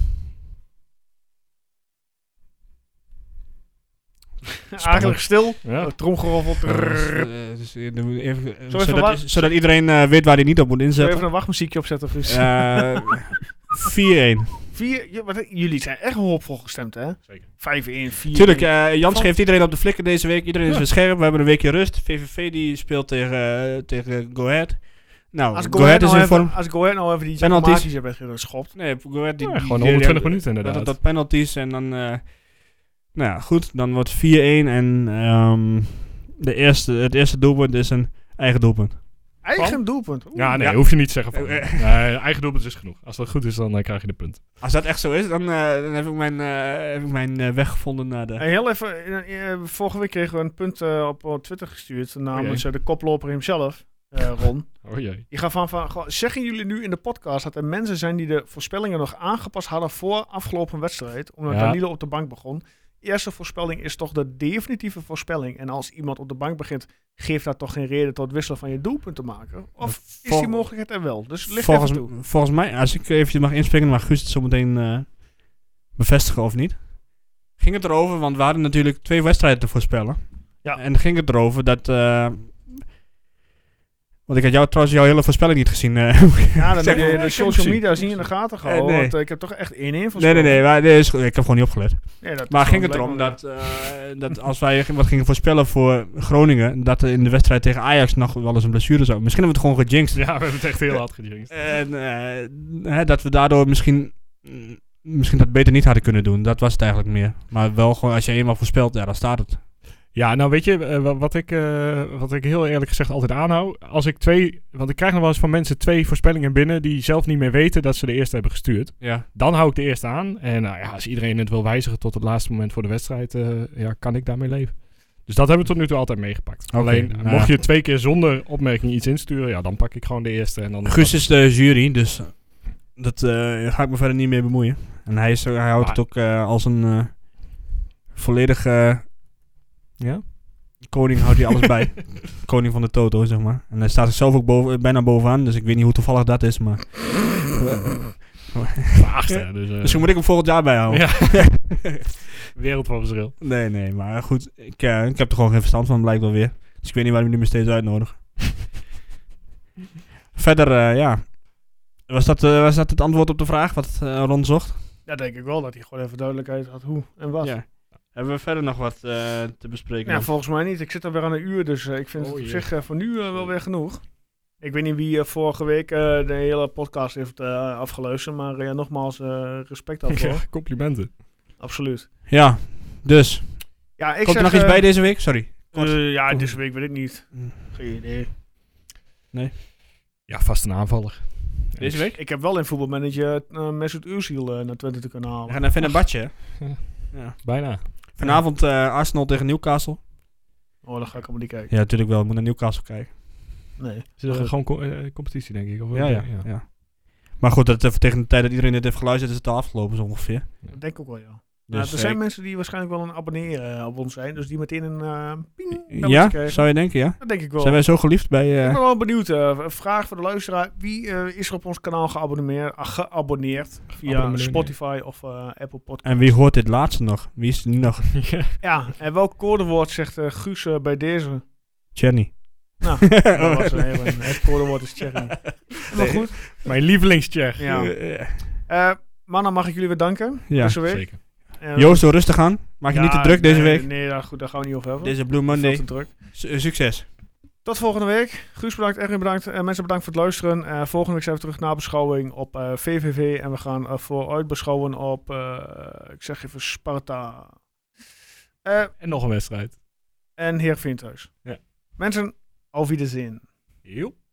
Eigenlijk stil. Ja. Tromgeroffel. Trrrr. eh, dus, eh, doen we even- eh, even zodat, wat- zodat iedereen eh, weet waar hij niet op moet Zullen we even inzetten. een wachtmuziekje opzetten? Of iets? Eh 4-1. Vier, je- wat- jullie zijn echt hoopvol gestemd, hè? Zeker. 5-1, 4 Tuurlijk, eh, Jans Van- geeft iedereen op de flikken deze week. Iedereen is Ja. weer scherp. We hebben een weekje rust. VVV die speelt tegen, eh, tegen Go Ahead. Nou, Als Go Ahead is in vorm. Als Go Ahead nou even die Penalties. automatisch hebben geschopt. Nee, Go Ahead die... Ja, die- gewoon die- 120 die- minuten Dat, inderdaad. dat penalties en dan... eh, nou ja, goed. Dan wordt 4-1 en ehm, de eerste, het eerste doelpunt is een eigen doelpunt. Eigen doelpunt. Oeh. Ja, nee, Ja. hoef je niet te zeggen van. Eh, eh. Nee, eigen doelpunt is genoeg. Als dat goed is, dan eh, krijg je de punt. Als dat echt zo is, dan, eh, dan heb ik mijn, eh, heb ik mijn eh, weg gevonden naar de... En heel even, eh, eh, vorige week kregen we een punt eh, op eh, Twitter gestuurd Oh namens eh, de koploper hemzelf, eh, Ron. Oh jee. Die gaf van, van goh, zeggen jullie nu in de podcast dat er mensen zijn die de voorspellingen nog aangepast hadden voor afgelopen wedstrijd, omdat Ja. Danilo op de bank begon. Eerste voorspelling is toch de definitieve voorspelling. En als iemand op de bank begint, geeft dat toch geen reden tot wisselen van je doelpunt te maken? Of is vol- die mogelijkheid er wel? Dus ligt Volgens, even toe. volgens mij, als ik eventjes mag inspringen, maar Guus het zo meteen eh, bevestigen of niet. Ging het erover, want we hadden natuurlijk twee wedstrijden te voorspellen. Ja. En ging het erover dat. eh, want ik had jou trouwens jouw hele voorspelling niet gezien. eh. Ja, dan Zeg heb je maar, de ik social misschien. media zien in de gaten gehouden. Eh, nee. Want eh, ik heb toch echt 1-1 voorspeld. *laughs* nee, nee, nee, maar, nee, is goed. Ik heb gewoon niet opgelet. Nee, dat Maar is ging wel het erom blijkbaar- dat, eh, dat als wij wat gingen voorspellen voor Groningen, dat er in de wedstrijd tegen Ajax nog wel eens een blessure zou. Misschien hebben we het gewoon gejinxed. Ja, we hebben het echt heel hard gejinxed. En eh, hè, dat we daardoor misschien, mm, misschien dat beter niet hadden kunnen doen. Dat was het eigenlijk meer. Maar wel gewoon, als je eenmaal voorspelt, ja, dan staat het. Ja, nou weet je, eh, wa- wat ik, eh, wat ik heel eerlijk gezegd altijd aanhoud. Als ik twee, want ik krijg nog wel eens van mensen twee voorspellingen binnen die zelf niet meer weten dat ze de eerste hebben gestuurd. Ja. Dan hou ik de eerste aan. En nou ja, als iedereen het wil wijzigen tot het laatste moment voor de wedstrijd, eh, ja, kan ik daarmee leven. Dus dat hebben we tot nu toe altijd meegepakt. Oké, Alleen, nou mocht ja. je twee keer zonder opmerking iets insturen, ja, dan pak ik gewoon de eerste. En *laughs* dan Guus is de jury, dus dat eh, ga ik me verder niet mee bemoeien. En hij, is, er- hij houdt Maar- het ook eh, als een eh, volledig eh, Ja? koning, houdt hij alles *laughs* bij. Koning van de Toto, zeg maar. En hij staat zichzelf ook boven, bijna bovenaan, dus ik weet niet hoe toevallig dat is, maar... Achtste, dus eh, Misschien moet ik hem volgend jaar bijhouden. Ja. *laughs* wereld van verschil. Nee, nee, maar goed. Ik, eh, ik heb er gewoon geen verstand van, blijkbaar weer. Dus ik weet niet waarom jullie me steeds uitnodigen. *laughs* Verder, eh, ja. Was dat, eh, was dat het antwoord op de vraag wat eh Ron zocht? Ja, denk ik wel dat hij gewoon even duidelijkheid had hoe en wat. Ja, Ja. Hebben we verder nog wat eh, te bespreken? Of- volgens mij niet. Ik zit alweer aan een uur, dus eh, ik vind Oh het op jee. zich eh, voor nu eh, wel weer genoeg. Ik weet niet wie eh, vorige week eh, de hele podcast heeft eh, afgeluisterd, maar eh, nogmaals, eh, respect daarvoor. *laughs* Ja, complimenten. Absoluut. Ja, dus. Ja, ik Komt er zeg, nog iets eh, bij deze week? Sorry. Kort. eh, ja, deze week weet ik niet. Mm. Geen idee. Ja, vast een aanvaller. Deze week? Ik heb wel in voetbalmanager eh Mesut Özil eh, naar Twente te kunnen We halen. gaan naar Fenerbahce. hè? Bijna. Vanavond eh, Arsenal tegen Newcastle. Oh, dan ga ik allemaal niet kijken. Ja, natuurlijk wel. Ik moet naar Newcastle kijken. Nee. Ze hebben Maar goed. gewoon co- eh, competitie, denk ik. Of Ja, ja, ja. Maar goed, dat, even tegen de tijd dat iedereen dit heeft geluisterd, is het al afgelopen zo ongeveer. Dat denk ik ook wel, ja. ja, Dus, er eh, Nou, zijn mensen die waarschijnlijk wel een abonnee eh, op ons zijn, dus die meteen een eh ping belletje Ja, krijgen. zou je denken, ja? Dat denk ik wel. Zijn wij zo geliefd bij... eh, Ik ben wel benieuwd. eh, een vraag voor de luisteraar. Wie eh, is er op ons kanaal geabonneerd, ah, geabonneerd via Abonneer. Spotify of eh, Apple Podcast? en wie hoort dit laatste nog? Wie is er nu nog? *laughs* Ja, en welk codewoord zegt eh, Guus eh, bij deze? Jenny. *laughs* Nou, Dat was een hele- het codewoord is Cherry. Maar goed. Mijn lievelingscheck. Ja. Eh, mannen, mag ik jullie weer danken? Ja. Deze week. Zeker. Eh, Joost, doe rustig aan. Maak je ja, niet te druk deze nee, week. Nee, nou goed, daar gaan we niet over hebben. Deze Blue Veel Monday. te druk. Su- succes. Tot volgende week. Guus bedankt, Erwin bedankt. en mensen bedankt voor het luisteren. Eh, volgende week zijn we terug na beschouwing op eh, VVV. En we gaan eh, vooruit beschouwen op, eh, ik zeg even, Sparta. Eh, En nog een wedstrijd. en Heer Thuis. Ja. Mensen, auf Wiedersehen. Joep.